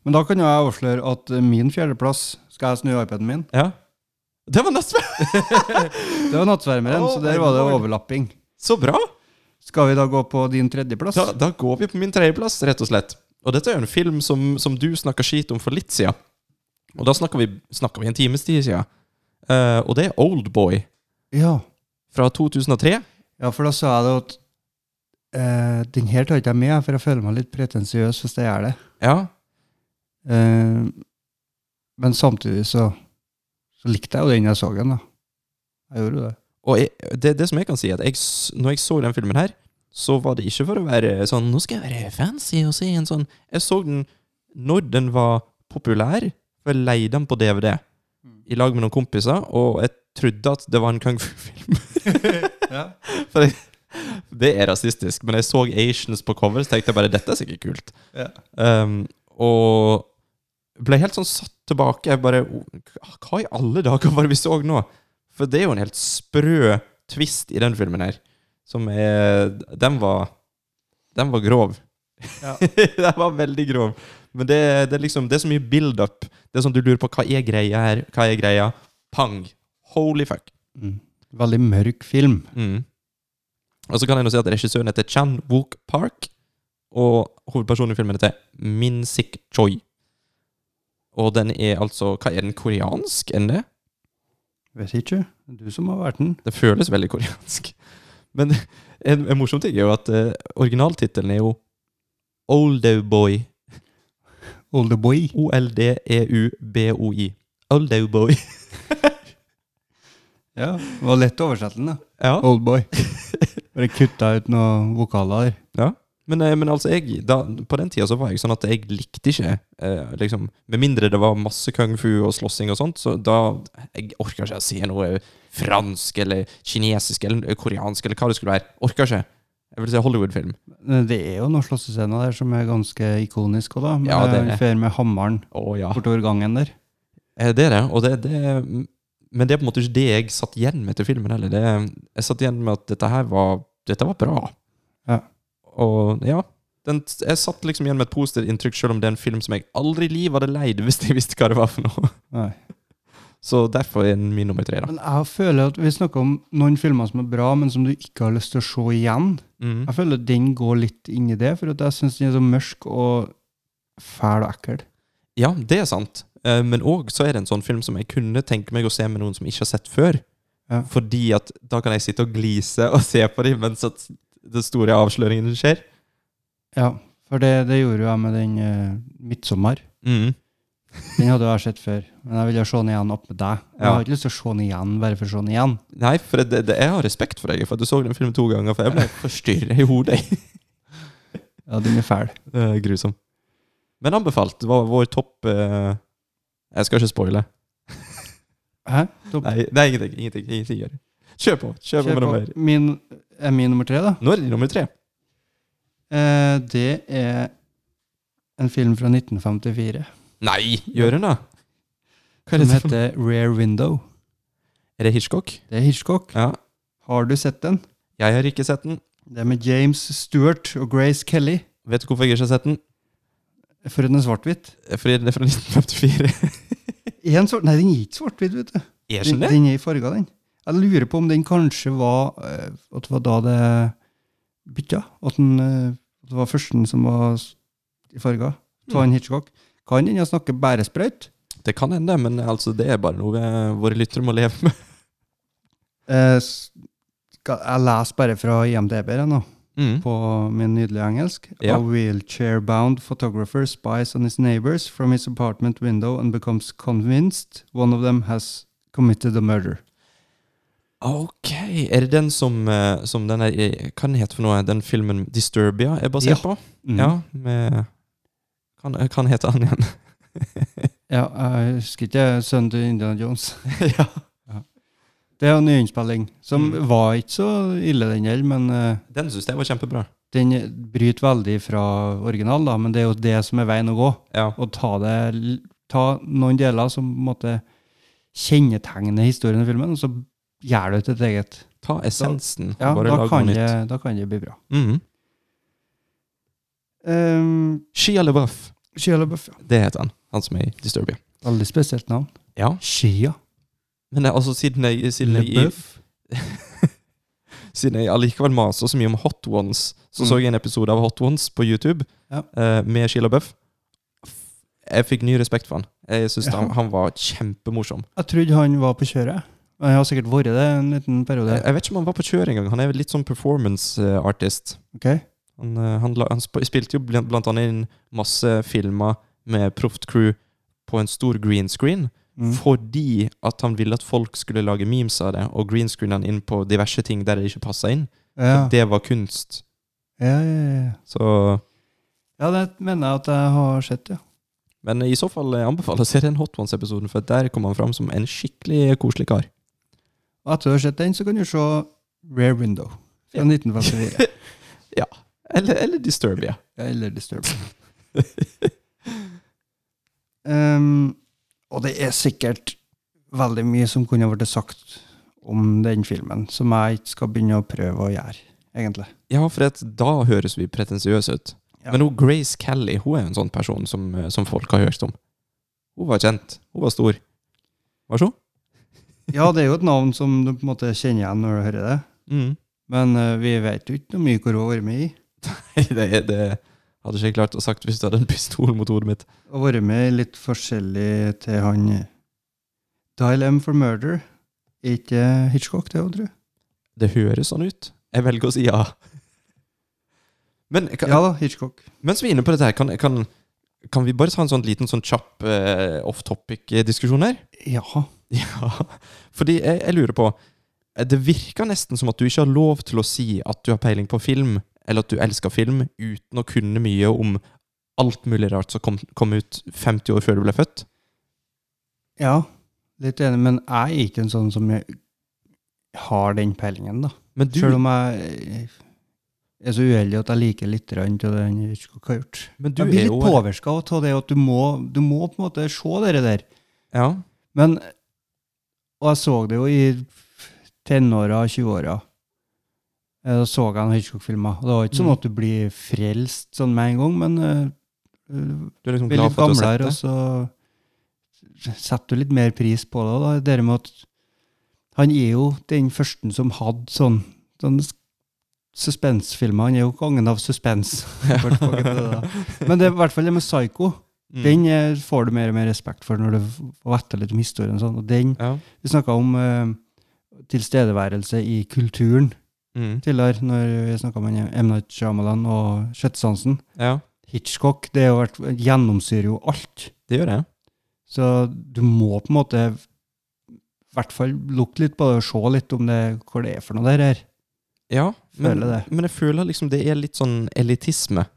Men da kan jo jeg avsløre at eh, min fjerdeplass skal jeg snu iPaden min. Ja. Det var nesten Det var nattsvermeren, Oh så der my var det lord. overlapping. Så bra! Skal vi da gå på din tredjeplass? Da, da går vi på min tredjeplass, rett og slett. Og dette er jo en film som, som du snakka skit om for litt siden. Og da snakka vi, snakket vi en times tid siden. Eh, og det er Oldboy Ja. fra 2003. ja, for da sa jeg det at eh, den her tar ikke jeg med, for jeg føler meg litt pretensiøs hvis jeg gjør det. Ja. Eh, men samtidig så, så likte jeg jo den jeg så den, da. Jeg gjorde jo det. Og jeg, det, det som jeg kan si, er at jeg, s- når jeg så den filmen her, så var det ikke for å være sånn Nå skal jeg være fancy og se en sånn Jeg så den når den var populær, for jeg leide den på DVD i lag med noen kompiser, og jeg trodde at det var en kung fu-film. For jeg, det er rasistisk, men jeg så Asians på cover, så tenkte jeg bare dette er sikkert kult. Ja. Um, og ble helt sånn satt tilbake. Jeg bare «Å, Hva i alle dager var det vi så nå? For det er jo en helt sprø twist i den filmen her. Som er Den var Den var grov. Ja. den var veldig grov. Men det, det er liksom Det er så mye build-up. Det er sånn du lurer på hva er greia her? Hva er greia? Pang! Holy fuck. Mm. Veldig mørk film. Mm. Og så kan jeg nå si at regissøren heter Chan Wook Park, og hovedpersonen i filmen heter Min Sik Choi. Og den er altså Hva er den koreansk enn det? Vet ikke. Det er Du som har vært den. Det føles veldig koreansk. Men en, en morsom ting er jo at uh, originaltittelen er jo Oldowboy. Oldeboy. E O-l-d-e-u-b-o-i. Oldowboy. Ja, det var lett å oversette den, da. Ja. Oldboy. Bare kutta ut noen vokaler der. Ja. Men, eh, men altså, jeg, da, på den tida så var jeg sånn at jeg likte ikke eh, liksom, Med mindre det var masse kung fu og slåssing og sånt, så da Jeg orka ikke å se noe fransk eller kinesisk eller koreansk eller hva det skulle være. Orka ikke. Jeg vil se Hollywood-film. Men Det er jo noen slåssescener der som er ganske ikonisk òg, da. Med, Ja, det er det. Ah. han fer med hammeren Å ja. bortover gangen der. Eh, Det er det. Og det, det Men det er på en måte ikke det jeg satt igjen med til filmen heller. Det, jeg satt igjen med at dette her var Dette var bra. Ja. Og ja. Den, jeg satt liksom igjen med et positivt inntrykk, selv om det er en film som jeg aldri i livet hadde leid hvis jeg visste hva det var for noe. Nei. Så derfor er den min nummer tre, da. Men jeg føler at vi snakker om noen filmer som er bra, men som du ikke har lyst til å se igjen. Mm. Jeg føler at den går litt inn i det, for at jeg syns den er så mørk og fæl og ekkel. Ja, det er sant. Eh, Men òg så er det en sånn film som jeg kunne tenke meg å se med noen som ikke har sett før. Ja. Fordi at da kan jeg sitte og glise og se på dem mens at den store avsløringen skjer. Ja, for det, det gjorde jo jeg med den eh, 'Midtsommer'. Mm. Den hadde jeg sett før, men jeg ville se den igjen opp med deg. Og Jeg Ja. har ikke lyst til å se den igjen bare for å se den igjen. Nei, for det, det, jeg har respekt for deg, for at du så den filmen to ganger, for jeg ble forstyrra i hodet. Ja, den er fæl. Det er grusom. Men anbefalt. Det var vår topp eh, Jeg skal ikke spoile. Hæ? Topp- Nei, nei ingenting. ingenting, ingenting gjør. Kjør på. Kjør på Kjør med på. nummer. Min, er min nummer tre, da. Nå er det nummer tre. Eh, det er en film fra 1954 Nei, gjør den da? Hva som er det for noe? heter Rare Window. Er det Hitchcock? Det er Hitchcock. Ja. Har du sett den? Jeg har ikke sett den. Det er med James Stewart og Grace Kelly. Vet du hvorfor jeg ikke har sett den? For den er svart-hvitt. Fordi den er fra 1954. Er den svart? Nei, den er ikke svart-hvitt, vet du. Er Den, den det? den er i farger, den. Jeg lurer på om den kanskje var eh, At det var da det bytta. At den, eh, at det var førsten som var s- i farger. Ta Mm. en Hitchcock. Kan den snakke bæresprøyt? Det kan hende, men altså, det er bare noe eh, våre lyttere må leve med. Eh, s- skal, jeg leser bare fra IMDb her nå, Mm. på min nydelige engelsk. Ja. A wheelchair-bound photographer spies on his neighbors from his apartment window and becomes convinced one of them has committed a murder. Ok, er det den som, eh, som den er, Mm. hva den heter for noe, den filmen Disturbia er basert Ja. på? Ja, med Kan, eh, kan hete han igjen. Ja, jeg husker ikke sønnen til Indiana Jones. ja. Det er en nyinnspilling som Mm. var ikke så ille, den heller, men eh, Den syns jeg var kjempebra. den bryter veldig fra original, da, men det er jo det som er veien å gå. Ja. Å ta, det, ta noen deler som på en måte kjennetegner historien i filmen, og så gjør du det til et eget. Ta essensen. Ja, bare da lag kan, noe det, nytt. da kan det bli bra. Mhm. Um, Shia LaBeouf. Shia LaBeouf, ja. Det heter han. Han som er i Disturbia. Veldig spesielt navn. Ja. Shia Men jeg, altså, siden jeg, siden jeg, LaBeouf. siden jeg allikevel maser så mye om Hot Ones, så Mm. så jeg en episode av Hot Ones på YouTube Ja. eh, med Sheila Buff. Jeg fikk ny respekt for han. Jeg synes Ja. han, han var kjempemorsom. Jeg trodde han var på kjøret. Men Han har sikkert vært det en liten periode. Jeg, jeg vet ikke om han var på kjør engang. Han er vel litt sånn performance eh, artist. Ok? Han, eh, han, la- han sp- spilte jo blant, blant annet inn masse filmer med proft crew på en stor green screen, Mm. fordi at han ville at folk skulle lage memes av det, og green screen han inn på diverse ting der det ikke passet inn. Ja. Og det var kunst. Ja, ja, ja. Så ja, det mener jeg at jeg har sett, ja. Men i så fall jeg anbefaler serien Hot Ones-episoden, for der kommer han fram som en skikkelig koselig kar. Og etter å ha sett den, så kan du se Rare Window fra 1954. Eller, eller Disturbia. Eller Disturbed. Um, og det er sikkert veldig mye som kunne vært sagt om den filmen, som jeg ikke skal begynne å prøve å gjøre, egentlig. Ja, for at da høres vi pretensiøse ut. Ja. Men hun Grace Kelly hun er jo en sånn person som, som folk har hørt om. Hun var kjent. Hun var stor. Var så? Ja, det er jo et navn som du på en måte kjenner igjen når du hører det. Mm. Men eh, vi vet jo ikke noe mye hvor hun har vært med i. Det, det hadde ikke jeg klart å sagt hvis du hadde en pistol mot hodet mitt. Og vært med i litt forskjellig til han eh, Dial M for Murder. Er ikke Hitchcock det, tror du? Det høres sånn ut. Jeg velger å si ja. Men kan, Ja da, Hitchcock. Mens vi er inne på dette her, kan, kan, kan vi bare ta en sånn liten sånn kjapp eh, off-topic-diskusjon her? Ja. Ja. Fordi jeg, jeg lurer på eh, Det virker nesten som at du ikke har lov til å si at du har peiling på film, eller at du elsker film, uten å kunne mye om alt mulig rart som kom, kom ut 50 år før du ble født. Ja, litt enig, men jeg er ikke en sånn som jeg har den peilingen, da. Men du, Selv om jeg eh, er så uheldig at jeg liker litt grann til det han Hitchcock har gjort. men du Jeg er blir jo litt påvirka av det at du må, du må på en måte se det der. Ja. Men Og jeg så det jo i tenåra og 20-åra. Eh, Da så jeg en Hitchcock-filmer. Og det var ikke sånn Mm. at du blir frelst sånn med en gang, men eh, Du du er liksom blir glad litt for at du har gamlere, og sett det. så setter du litt mer pris på det. Da. Det der med at han er jo den første som hadde sånn, sånn s- suspensfilmer. Han er jo kongen av suspens. Får tilbake til det da. Men det er i hvert fall det med Psycho. Mm. Den eh, får du mer og mer respekt for når du får vite litt om historien. og Sånn. Og den, Ja. Vi snakka om eh, tilstedeværelse i kulturen Mm. tidligere, når vi snakka om han, M. Night Shyamalan og Sjettesansen. ja. Hitchcock det er jo vært, gjennomsyrer jo alt. Det gjør jeg. Så du må på en måte i hvert fall lukte litt på det og se litt om det, hvor det er for noe der her. Ja. Men, Føler det. men jeg føler liksom det er litt sånn elitisme.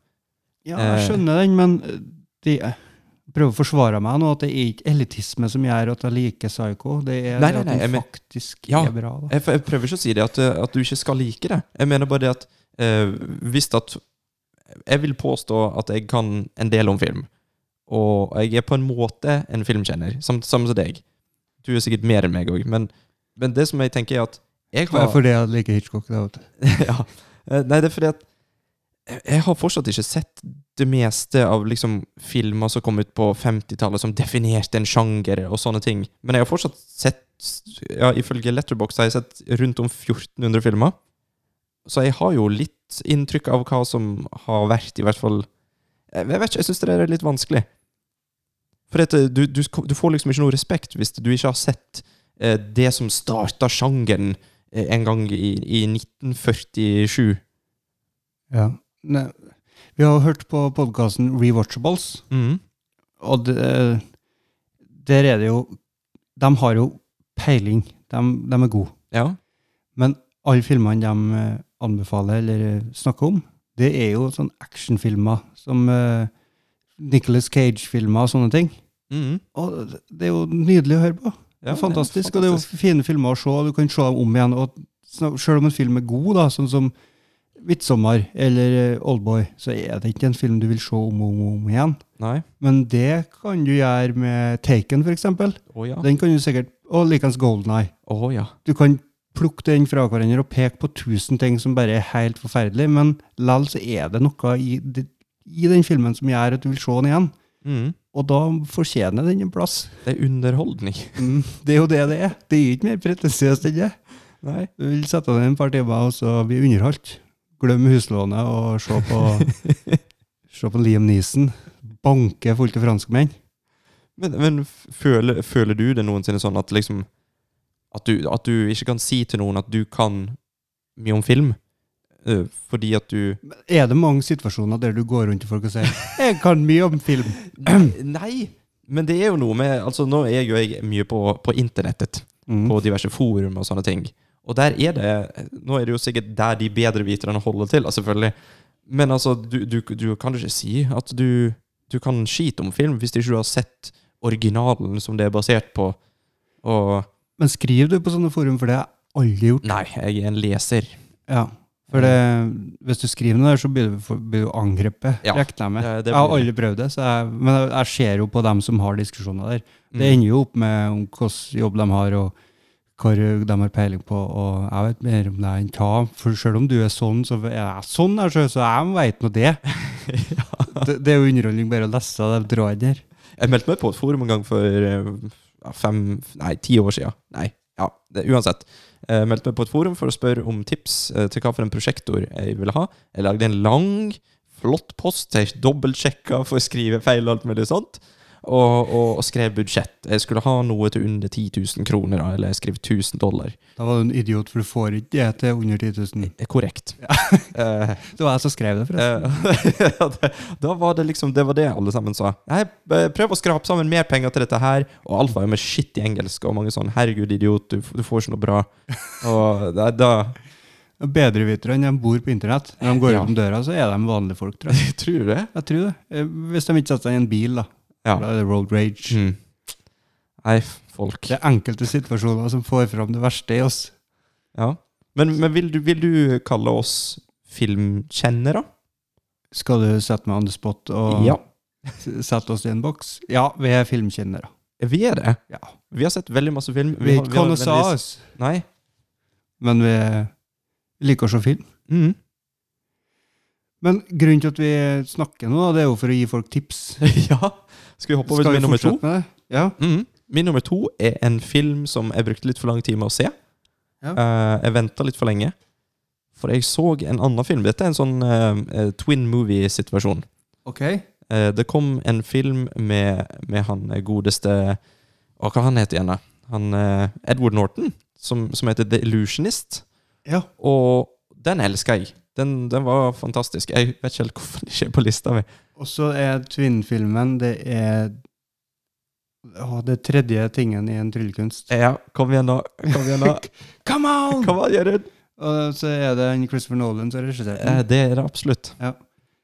Ja, Eh. jeg skjønner den, men eh, de, jeg prøver å forsvare meg nå, at det er ikke elitisme som gjør at jeg liker Psycho. Det er Nei, det nei, at nei, jeg den men- faktisk Ja, er bra. Da. Jeg, jeg prøver ikke å si det at, eh, at du ikke skal like det. Jeg mener bare det at eh, hvis at Jeg vil påstå at jeg kan en del om film. Og jeg er på en måte en filmkjenner, sam- samme som deg. Du er sikkert mer enn meg òg, men, men det som jeg tenker, er at jeg Det har er fordi jeg liker Hitchcock. Da, vet du. ja. Eh, Nei, det er fordi at jeg- jeg har fortsatt ikke sett det meste av liksom filmer som kom ut på 50-tallet, som definerte en sjanger og sånne ting. Men jeg har fortsatt sett, ja, ifølge Letterboxd, har jeg sett rundt om 1400 filmer. Så jeg har jo litt inntrykk av hva som har vært, i hvert fall Jeg vet ikke, jeg syns det er litt vanskelig. For at eh, du, du, sk- du får liksom ikke noe respekt hvis du ikke har sett eh, det som starta sjangeren eh, en gang i, i 1947. Ja. Nei, vi har hørt på podkasten Rewatchables, Mm. og det, der er det jo De har jo peiling. De, de er gode. Ja. Men alle filmene de eh, anbefaler eller eh, snakker om, det er jo sånn actionfilmer som eh, Nicholas Cage-filmer og sånne ting. Mhm. Og det- det er jo nydelig å høre på. det Ja, er fantastisk, det er og det er jo fine filmer å se, og du kan se dem om igjen. Og sn- selv om en film er god, da, sånn som 'Midtsommer' eller eh, 'Oldboy', så er det ikke en film du vil se om og om, og om igjen. Nei. Men det kan du gjøre med 'Taken', for eksempel. Å ja. Den kan du sikkert, og likeens 'Golden Eye'. Å ja. Du kan plukke den fra hverandre og peke på tusen ting som bare er helt forferdelig, men likevel så er det noe i, det- i den filmen som gjør at du vil se den igjen. Mhm. Og da fortjener den en plass. Det er underholdning. Mm, det er jo det det er. Det er ikke mer pretensiøst enn det. Nei. Du vil sette deg ned et par timer og så bli underholdt. Glem huslånet og se på, se på Liam Neeson banke fullt av franskmenn. Men, men f- føler, føler du det noensinne sånn at liksom at du, at du ikke kan si til noen at du kan mye om film? eh, fordi at du Er det mange situasjoner der du går rundt til folk og sier 'Jeg kan mye om film'? Nei! Men det er jo noe med Altså, nå er jo jeg mye på, på internettet. Mm. På diverse forum og sånne ting. Og der er det Nå er det jo sikkert der de bedre viterne holder til, da, selvfølgelig. Men altså, du, du, du kan ikke si at du, du kan skite om film hvis ikke du har sett originalen som det er basert på. Og Men skriver du på sånne forum, for det har jeg aldri gjort. Nei, jeg er en leser. Ja. For det, hvis du skriver noe der, så blir du, for- blir du angrepet, Ja, regner jeg med. det- det Jeg har blir- aldri prøvd det, så jeg, men jeg, jeg ser jo på dem som har diskusjoner der. Mm. Det ender jo opp med om hvilken jobb de har, og hvor de har peiling på, og jeg vet mer om det enn hva. For selv om du er sånn, så er jeg sånn, jeg, så- så jeg vet nå det. det. Det er jo underholdning bare å lese det draget der. Jeg meldte meg på et forum en gang for eh, ja, fem, nei, ti år siden. Nei, ja, det, uansett. Eh, Jeg meldte meg på et forum for å spørre om tips eh, til hva for en prosjektor jeg ville ha. Jeg lagde en lang, flott post jeg dobbeltsjekka for å skrive feil og alt mulig sånt. Og, og, og skrev budsjett. Jeg skulle ha noe til under 10 000 kroner, da, eller jeg skrev 1000 dollar. Da var du en idiot, for du får ikke det til under 10 000. Det er korrekt. Eh, Det var jeg som skrev det, forresten. Eh, da- da var det liksom Det var det alle sammen sa. Nei, b- prøv å skrape sammen mer penger til dette her. Og alt var jo med skitt i engelsk, og mange sånn 'herregud, idiot, du, f- du får ikke noe bra'. Og da, da Bedreviterne de bor på internett. Når de går Ja. opp om døra, så er de vanlige folk, tror jeg. Tror du det? Jeg tror det. Eh, Hvis de ikke setter seg i en bil, da. Ja. Da er det road rage. Mm. Nei, f- folk. Det er enkelte situasjoner som får fram det verste i oss. Ja. Men, men vil, du, vil du kalle oss filmkjennere? Skal du sette meg on the spot og Ja. s- sette oss i en boks? Ja, vi er filmkjennere. Vi er det. Ja. Vi har sett veldig masse film. Vi er ikke har- vi har nødvendigvis- konnoisseurs, Nei. men vi liker å se film. Mm. Men grunnen til at vi snakker nå, da, det er jo for å gi folk tips. ja. Skal vi hoppe over til min nummer to? med det? Ja. Mhm. Min nummer to er en film som jeg brukte litt for lang tid med å se. Ja. Eh, jeg venta litt for lenge, for jeg så en annen film. Dette er en sånn eh, eh, twin movie-situasjon. Ok. Eh, det kom en film med, med han eh, godeste Å, hva han heter igjen? da? Han, eh, Edward Norton, som, som heter The Illusionist. Ja. Og den elska jeg. Den, den var fantastisk. Jeg vet ikke helt hvorfor den ikke er på lista mi. Og så er Twin-filmen det er å, det tredje tingen i en tryllekunst. Ja, kom igjen, da. Kom igjen, da. Come on! Kom igjen, Jørund. Og så er det en Christopher Nolan som har regissert Eh, den. Det er det absolutt. Ja.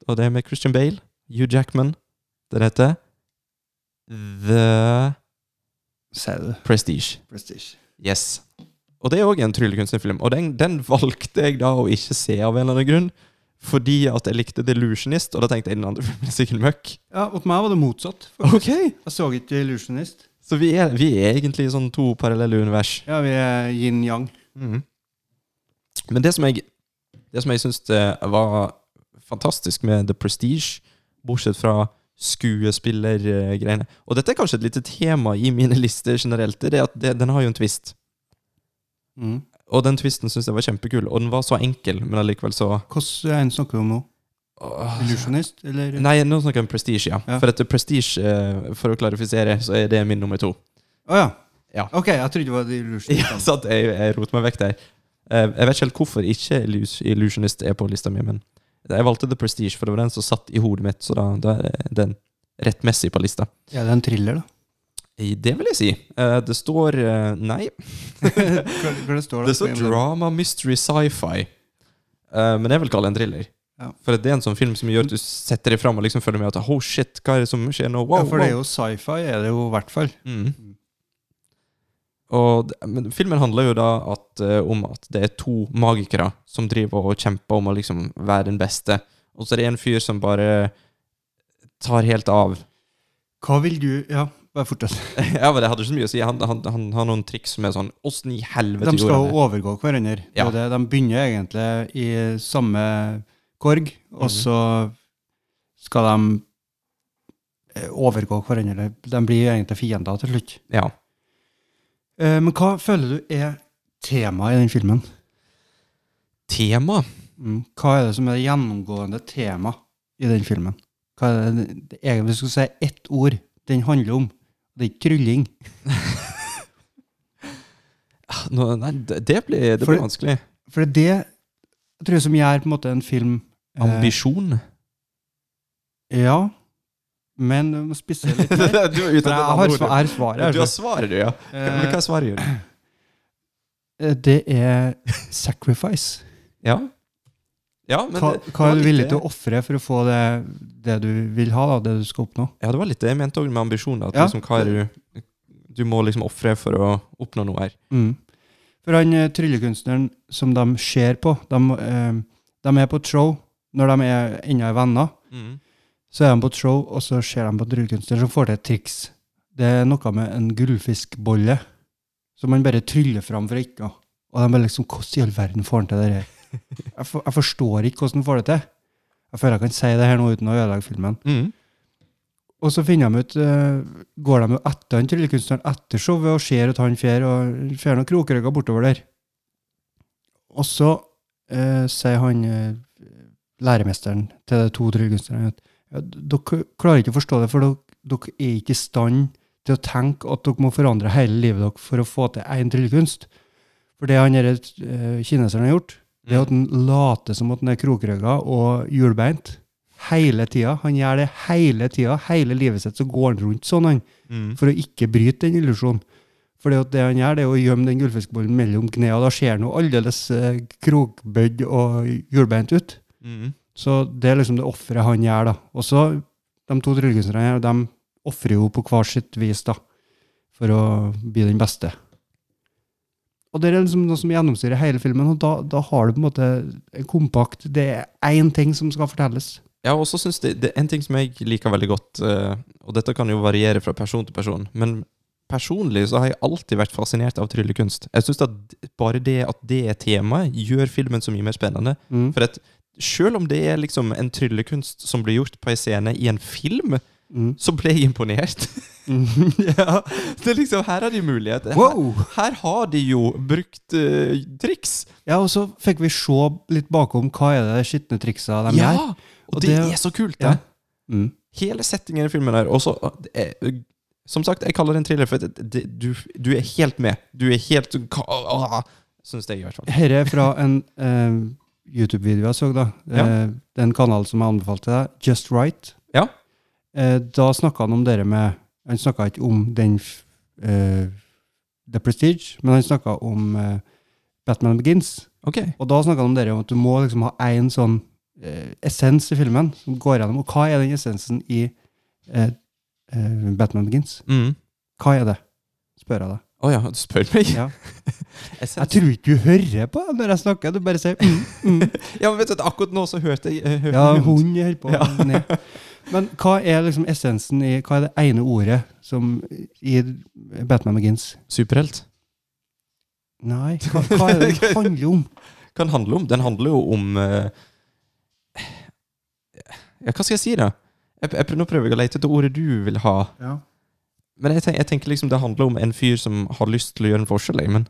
Og det er med Christian Bale, Hugh Jackman. Den heter The Sier du. Prestige. Prestige. Yes. Og det er òg en tryllekunstnerfilm. Og den, den valgte jeg da å ikke se av en eller annen grunn. Fordi at jeg likte Delusionist, og da tenkte jeg den andre filmen er sikkert møkk. Ja, Mot meg var det motsatt. faktisk. Jeg så ikke Illusionist. Så vi er, vi er egentlig sånn to parallelle univers. Ja, vi er yin-yang. Mm. Men det som jeg, det som jeg syns eh, var fantastisk med The Prestige, bortsett fra skuespillergreiene Og dette er kanskje et lite tema i mine lister generelt, det er at det, den har jo en twist. Mm. Og den twisten syns jeg var kjempekul, og den var så enkel, men allikevel så Hvordan er en snakker du om nå? Åh. Illusionist, eller? Nei, nå snakker jeg om Prestige, ja. Ja. For at Prestige, eh, for å klarifisere, så er det min nummer to. Å ja. Ja. Ok, jeg trodde det var Illusionist. Ja, sant, jeg, jeg roter meg vekk der. Eh, Jeg vet ikke helt hvorfor ikke Illus- Illusionist er på lista mi, men jeg valgte The Prestige, for det var den som satt i hodet mitt, så da, da er den rettmessig på lista. Ja, det er en thriller, da. I- Det vil jeg si. Eh, Det står eh, Nei, Hva, hva det står da? det står drama, mystery, sci-fi. Eh, Men jeg vil kalle det en thriller. Ja. For det er en sånn film som gjør at du setter deg fram og liksom følger med. at, oh shit, hva er det som skjer nå? Wow, ja, for det er wow. jo sci-fi, er det jo i hvert fall. Mm. Og det, men filmen handler jo da at, eh, om at det er to magikere som driver og kjemper om å liksom være den beste. Og så er det en fyr som bare tar helt av. Hva vil du Ja, bare fortsett. ja, men Det hadde ikke så mye å si. Han, han, han har noen triks som er sånn Åssen i helvete De skal gjorde han jo det? overgå hverandre. Det er Ja. jo det. De begynner egentlig i samme korg, og så skal de eh, overgå hverandre. De blir egentlig fiender til slutt. Ja. Eh, Men hva føler du er temaet i den filmen? Tema? Mm. Hva er det som er det gjennomgående tema i den filmen? Hva er det, det egentlig hvis du skulle si ett ord den handler om? Det er ikke trylling. Nå, nei, det det blir, det For- blir vanskelig. For det er det jeg tror som gjør på en måte en film eh, Ambisjon? Ja, men du må spisse litt du mer. er ute etter For et jeg annet har, ord. sva- jeg har svaret. Du har altså. svaret, du, ja. Men hva er svaret, Jørgen? Eh, Det er sacrifice. Ja. ja men Hva, det- hva det var er du litt villig det- til å ofre for å få det, det du vil ha, da, det du skal oppnå? Ja, det var litt det jeg mente òg med ambisjon. At Ja. liksom, hva er det du, du må liksom ofre for å oppnå noe her. Mm. For han eh, tryllekunstneren som de ser på, de, eh, de er på et show når de er ennå er venner. Så er de på et show, og så ser de på en tryllekunstner som får til et triks. Det er noe med en gullfiskbolle som han bare tryller fram for ikke å Og de bare liksom Hvordan i all verden får han til det her? Jeg, for, jeg forstår ikke hvordan han får det til. Jeg føler jeg kan si det her nå uten å ødelegge filmen. Mm. Og så finner de ut eh, Går de jo etter han tryllekunstneren etter showet og ser at han fer og fer noen krokrygger bortover der. Og så eh, sier han eh, læremesteren til de to tryllekunstnerne at ja, dere klarer ikke å forstå det, for dere, dere er ikke i stand til å tenke at dere må forandre hele livet deres for å få til én tryllekunst. For det han denne, eh, kineseren har gjort, det er at han later som at han er krokrygga og hjulbeint. Hele tida. Han gjør det hele tida. Hele livet sitt så går han rundt sånn, han. Mm. For å ikke bryte den illusjonen. For det han gjør, det er å gjemme den gullfiskbollen mellom knærne. og Da ser han jo aldeles eh, krogbøyd og hjulbeint ut. Så det er liksom det offeret han gjør, da. Og så de to tryllekunstnerne her, de ofrer jo på hver sitt vis, da. For å bli den beste. Og det er liksom noe som gjennomsyrer hele filmen, og da, da har du på en måte en kompakt Det er én ting som skal fortelles. Ja, og så synes det, det er en ting som jeg liker veldig godt, eh, og dette kan jo variere fra person til person, men personlig så har jeg alltid vært fascinert av tryllekunst. Jeg synes at d- bare det at det er temaet, gjør filmen så mye mer spennende. Mm. For at selv om det er liksom en tryllekunst som blir gjort på en scene i en film, Mm. så ble jeg imponert. ja, det er liksom, her har de mulighet. Her, Wow! her har de jo brukt eh, triks. Ja, og så fikk vi se litt bakom hva er det skitne triksa de Ja, gjør. og, Og det, det- er så kult det. Ja. Mm. Hele settingen i filmen her. Og så det er- Som sagt, jeg kaller det en thriller, for det, det, du, du er helt med. Du er helt Syns jeg, i hvert fall. Her er fra en eh, YouTube-video jeg så, da. Ja. Eh, det er en kanal som jeg anbefalte deg, Just Right. Ja. Eh, da snakka han om dere med Han snakka ikke om den f- eh, The Prestige, men han snakka om eh, Batman Begins. Ok. Og da snakka han om dere om at du må liksom ha én sånn eh, essens i filmen som går gjennom. Og hva er den essensen i eh, eh, Batman Begins? Mm. Hva er det? spør jeg deg. Å ja, du spør meg? Ja. Jeg ser- Jeg tror ikke du hører på når jeg snakker. Du bare sier mm, mm. ja, men vet du, at akkurat nå så hørte jeg eh, hørte Ja, jeg hund. hund holder på å ned. Men hva er liksom essensen i Hva er det ene ordet som i Batman Begins? Superhelt. Nei, hva, hva er det den handler om? Kan handle om Den handler jo om eh, Ja, hva skal jeg si, da? Jeg, jeg, prø- nå prøver jeg å lete etter ordet du vil ha. Ja. Men jeg, tenk, jeg tenker liksom det handler om en fyr som har lyst til å gjøre en forskjell. jeg, Men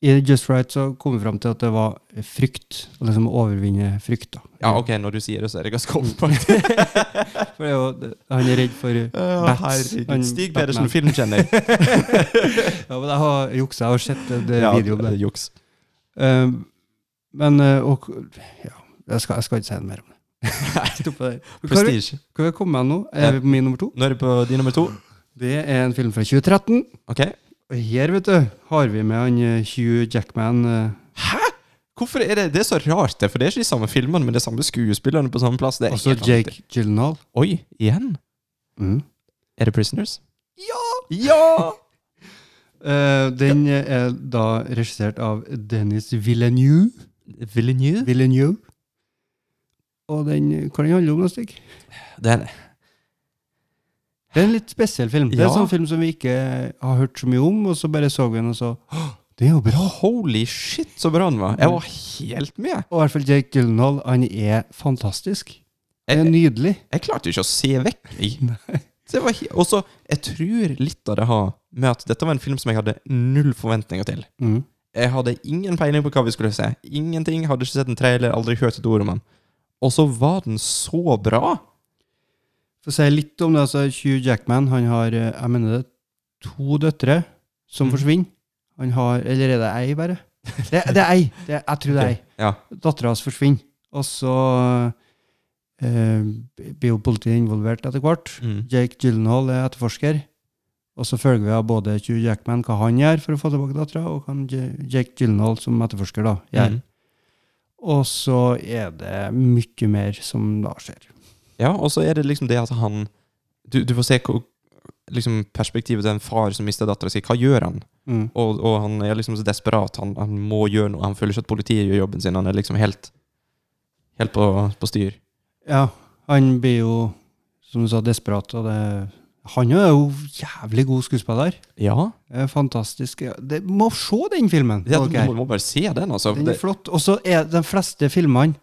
I Just Right så kom vi fram til at det var frykt. Å liksom overvinne frykt. da. Ja, ok, når du sier det, så er det ganske omfattende. For det er jo, han er redd for bats. Han- Batman. Stig Pedersen, filmkjenner. Ja, men jeg har juksa. Jeg har sett det, det videoen der. juks. Eh, men eh, og, ja, jeg, skal, jeg skal ikke si noe mer om det. Stopp det der. Hva har vi- Prestige. hva har vi kommet med nå? Er vi på min nummer to? Nå er det på de nummer to. Det er en film fra 2013. Ok. eh, Og her, vet du, har vi med han eh, Hugh Jackman. Hæ? Hvorfor er det, det er så rart, det, for det er ikke de samme filmene, men det er samme skuespillerne på samme plass. Det er Også helt annet. altså Jake Gyllenhaal. Oi, igjen? Mm. Er det Prisoners? Ja! Ja! Eh, den er da regissert av Dennis Villeneuve. Villeneuve? Villeneuve. Og den kan den handle om noe stikk. Det er, Det er en litt spesiell film. Det er en Ja. sånn film som vi ikke har hørt så mye om, og så bare så vi den og så «Åh, Det er jo bra! holy shit, så bra den var. Jeg var helt med. Og i hvert fall Jake Gyllenhaal, han er fantastisk. Han er Jeg, nydelig. jeg klarte ikke å se vekk. jeg. Det var he- Og så, jeg tror litt av det har med at dette var en film som jeg hadde null forventninger til. Mm. Jeg hadde ingen peiling på hva vi skulle se. Ingenting. Hadde ikke sett en trailer, aldri hørt et ord om den. Og så var den så bra! For å si litt om det, altså Hugh Jackman, han har, eh, jeg mener det, to døtre som Mm. forsvinner. Han har, eller er det ei bare? Det, det er ei, det, er- jeg tror det er ei. Ja. Dattera hans forsvinner. Og så eh, blir jo politiet involvert etter hvert. Mm. Jake Gyllenhaal er etterforsker. Og så følger vi av både Hugh Jackman, hva han gjør for å få tilbake dattera, og hva han J- Jake Gyllenhaal som etterforsker da, gjør. Mm. Og så er det mye mer som da skjer. Ja, og så er det liksom det at han Du, du får se hvor- liksom perspektivet til en far som mister dattera si. Hva gjør han? Mm. Og, og han er liksom så desperat. Han, han må gjøre noe. Han føler ikke at politiet gjør jobben sin. Han er liksom helt Helt på, på styr. Ja, han blir jo, som du sa, desperat, og det Han er jo jævlig god skuespiller. Ja. Eh, Fantastisk. Ja, Det, må se den filmen! Det, folk du her. må, må bare se den, altså. Den er Det, flott. Og så er de fleste filmene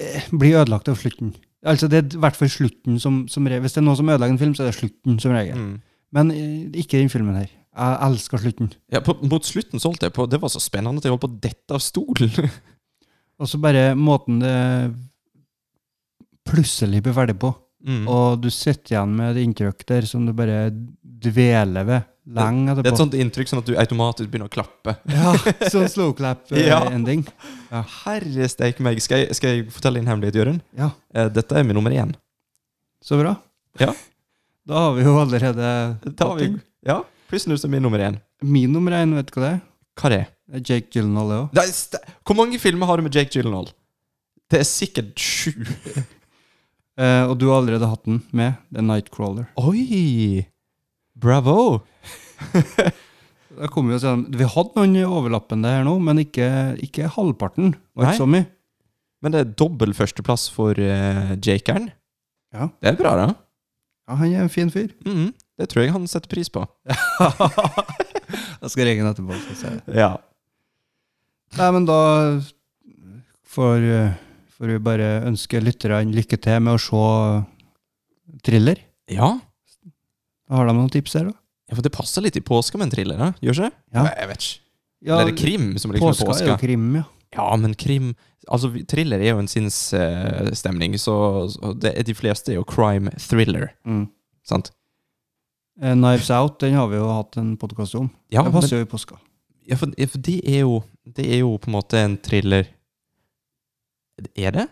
eh, blir ødelagt av slutten. Altså Det er i hvert fall slutten som, som regel. Hvis det er noen som ødelegger en film, så er det slutten som regel. mm. Men eh, ikke den filmen her. Jeg elsker slutten. ja, på, mot slutten så holdt jeg på Det var så spennende at jeg holdt på å dette av stolen. Og så bare måten det plutselig blir ferdig på. Mm. Og du sitter igjen med et inntrykk der som du bare dveler ved lenge Det er etterpå. et sånt inntrykk sånn at du automatisk begynner å klappe. ja, sånn slow Ja. clap-ending. Herre steike meg. Skal jeg, skal jeg fortelle en hemmelighet, Jørund? Ja. Eh, Dette er min nummer én. Så bra. Ja. Da har vi jo allerede Da har vi, ja, Prisoners er min nummer én. Min nummer én, vet du hva det er? Hva er det? Det er Jake Gyllenhaal, det òg. det er st Hvor mange filmer har du med Jake Gyllenhaal? Det er sikkert sju. Eh, og du har allerede hatt den med The Nightcrawler. Oi! Bravo! Da kommer Vi oss gjennom- Vi hadde noen overlappende her nå, men ikke, ikke halvparten. Var Nei. ikke så mye. Men det er dobbel førsteplass for uh, Jakeren. Ja. Det er bra, da. Ja, han er en fin fyr. Mhm. Det tror jeg han setter pris på. Jeg skal ringe ham etterpå. Så ser jeg. Ja. Nei, men da får, eh, får vi bare ønske lytterne lykke til med å se thriller. Ja, Har de noen tips her, da? for det passer litt i påska med en thriller, da. gjør ikke det? Ja. Jeg vet ikke. Eller er det krim som liksom påska er er jo påska. krim, ja. Ja, men krim Altså, vi- thriller er jo en sinnsstemning, så, så det, er- de fleste er jo crime thriller, Mm. sant? Eh, Knives Out den har vi jo hatt en podkast om. Ja, det men- passer jo i påska. Ja, for, ja, for det er jo Det er jo på en måte en thriller Er det?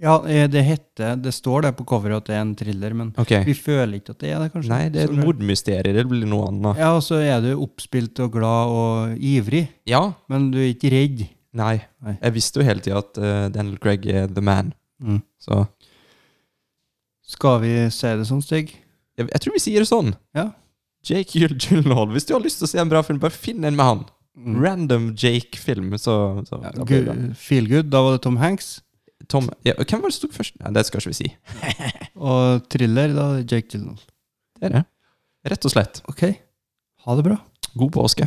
Ja, eh, det heter Det står det på coveret at det er en thriller, men Ok. Vi føler ikke at det er det, kanskje. Nei, det er Så et mordmysterium. Det blir noe annet. Ja, og så er du oppspilt og glad og ivrig, Ja. men du er ikke redd. Nei. Nei. Jeg visste jo hele tida at eh, Daniel Craig er the man. Mm. Så Skal vi si det sånn, Stig? jeg, jeg tror vi sier det sånn. Ja. Jake Gyll- Gyllenhaal. Hvis du har lyst til å se en bra film, bare finn en med han. Random Jake-film. Så, så Mm. Ja, da blir det bra. gu- feel good, da var det Tom Hanks. Tom ja, Hvem var det som tok først? Nei, det skal ikke vi si. Og thriller, da er det Jake Gyllenhaal. Det er det. Rett og slett. Ok, ha det bra. God påske.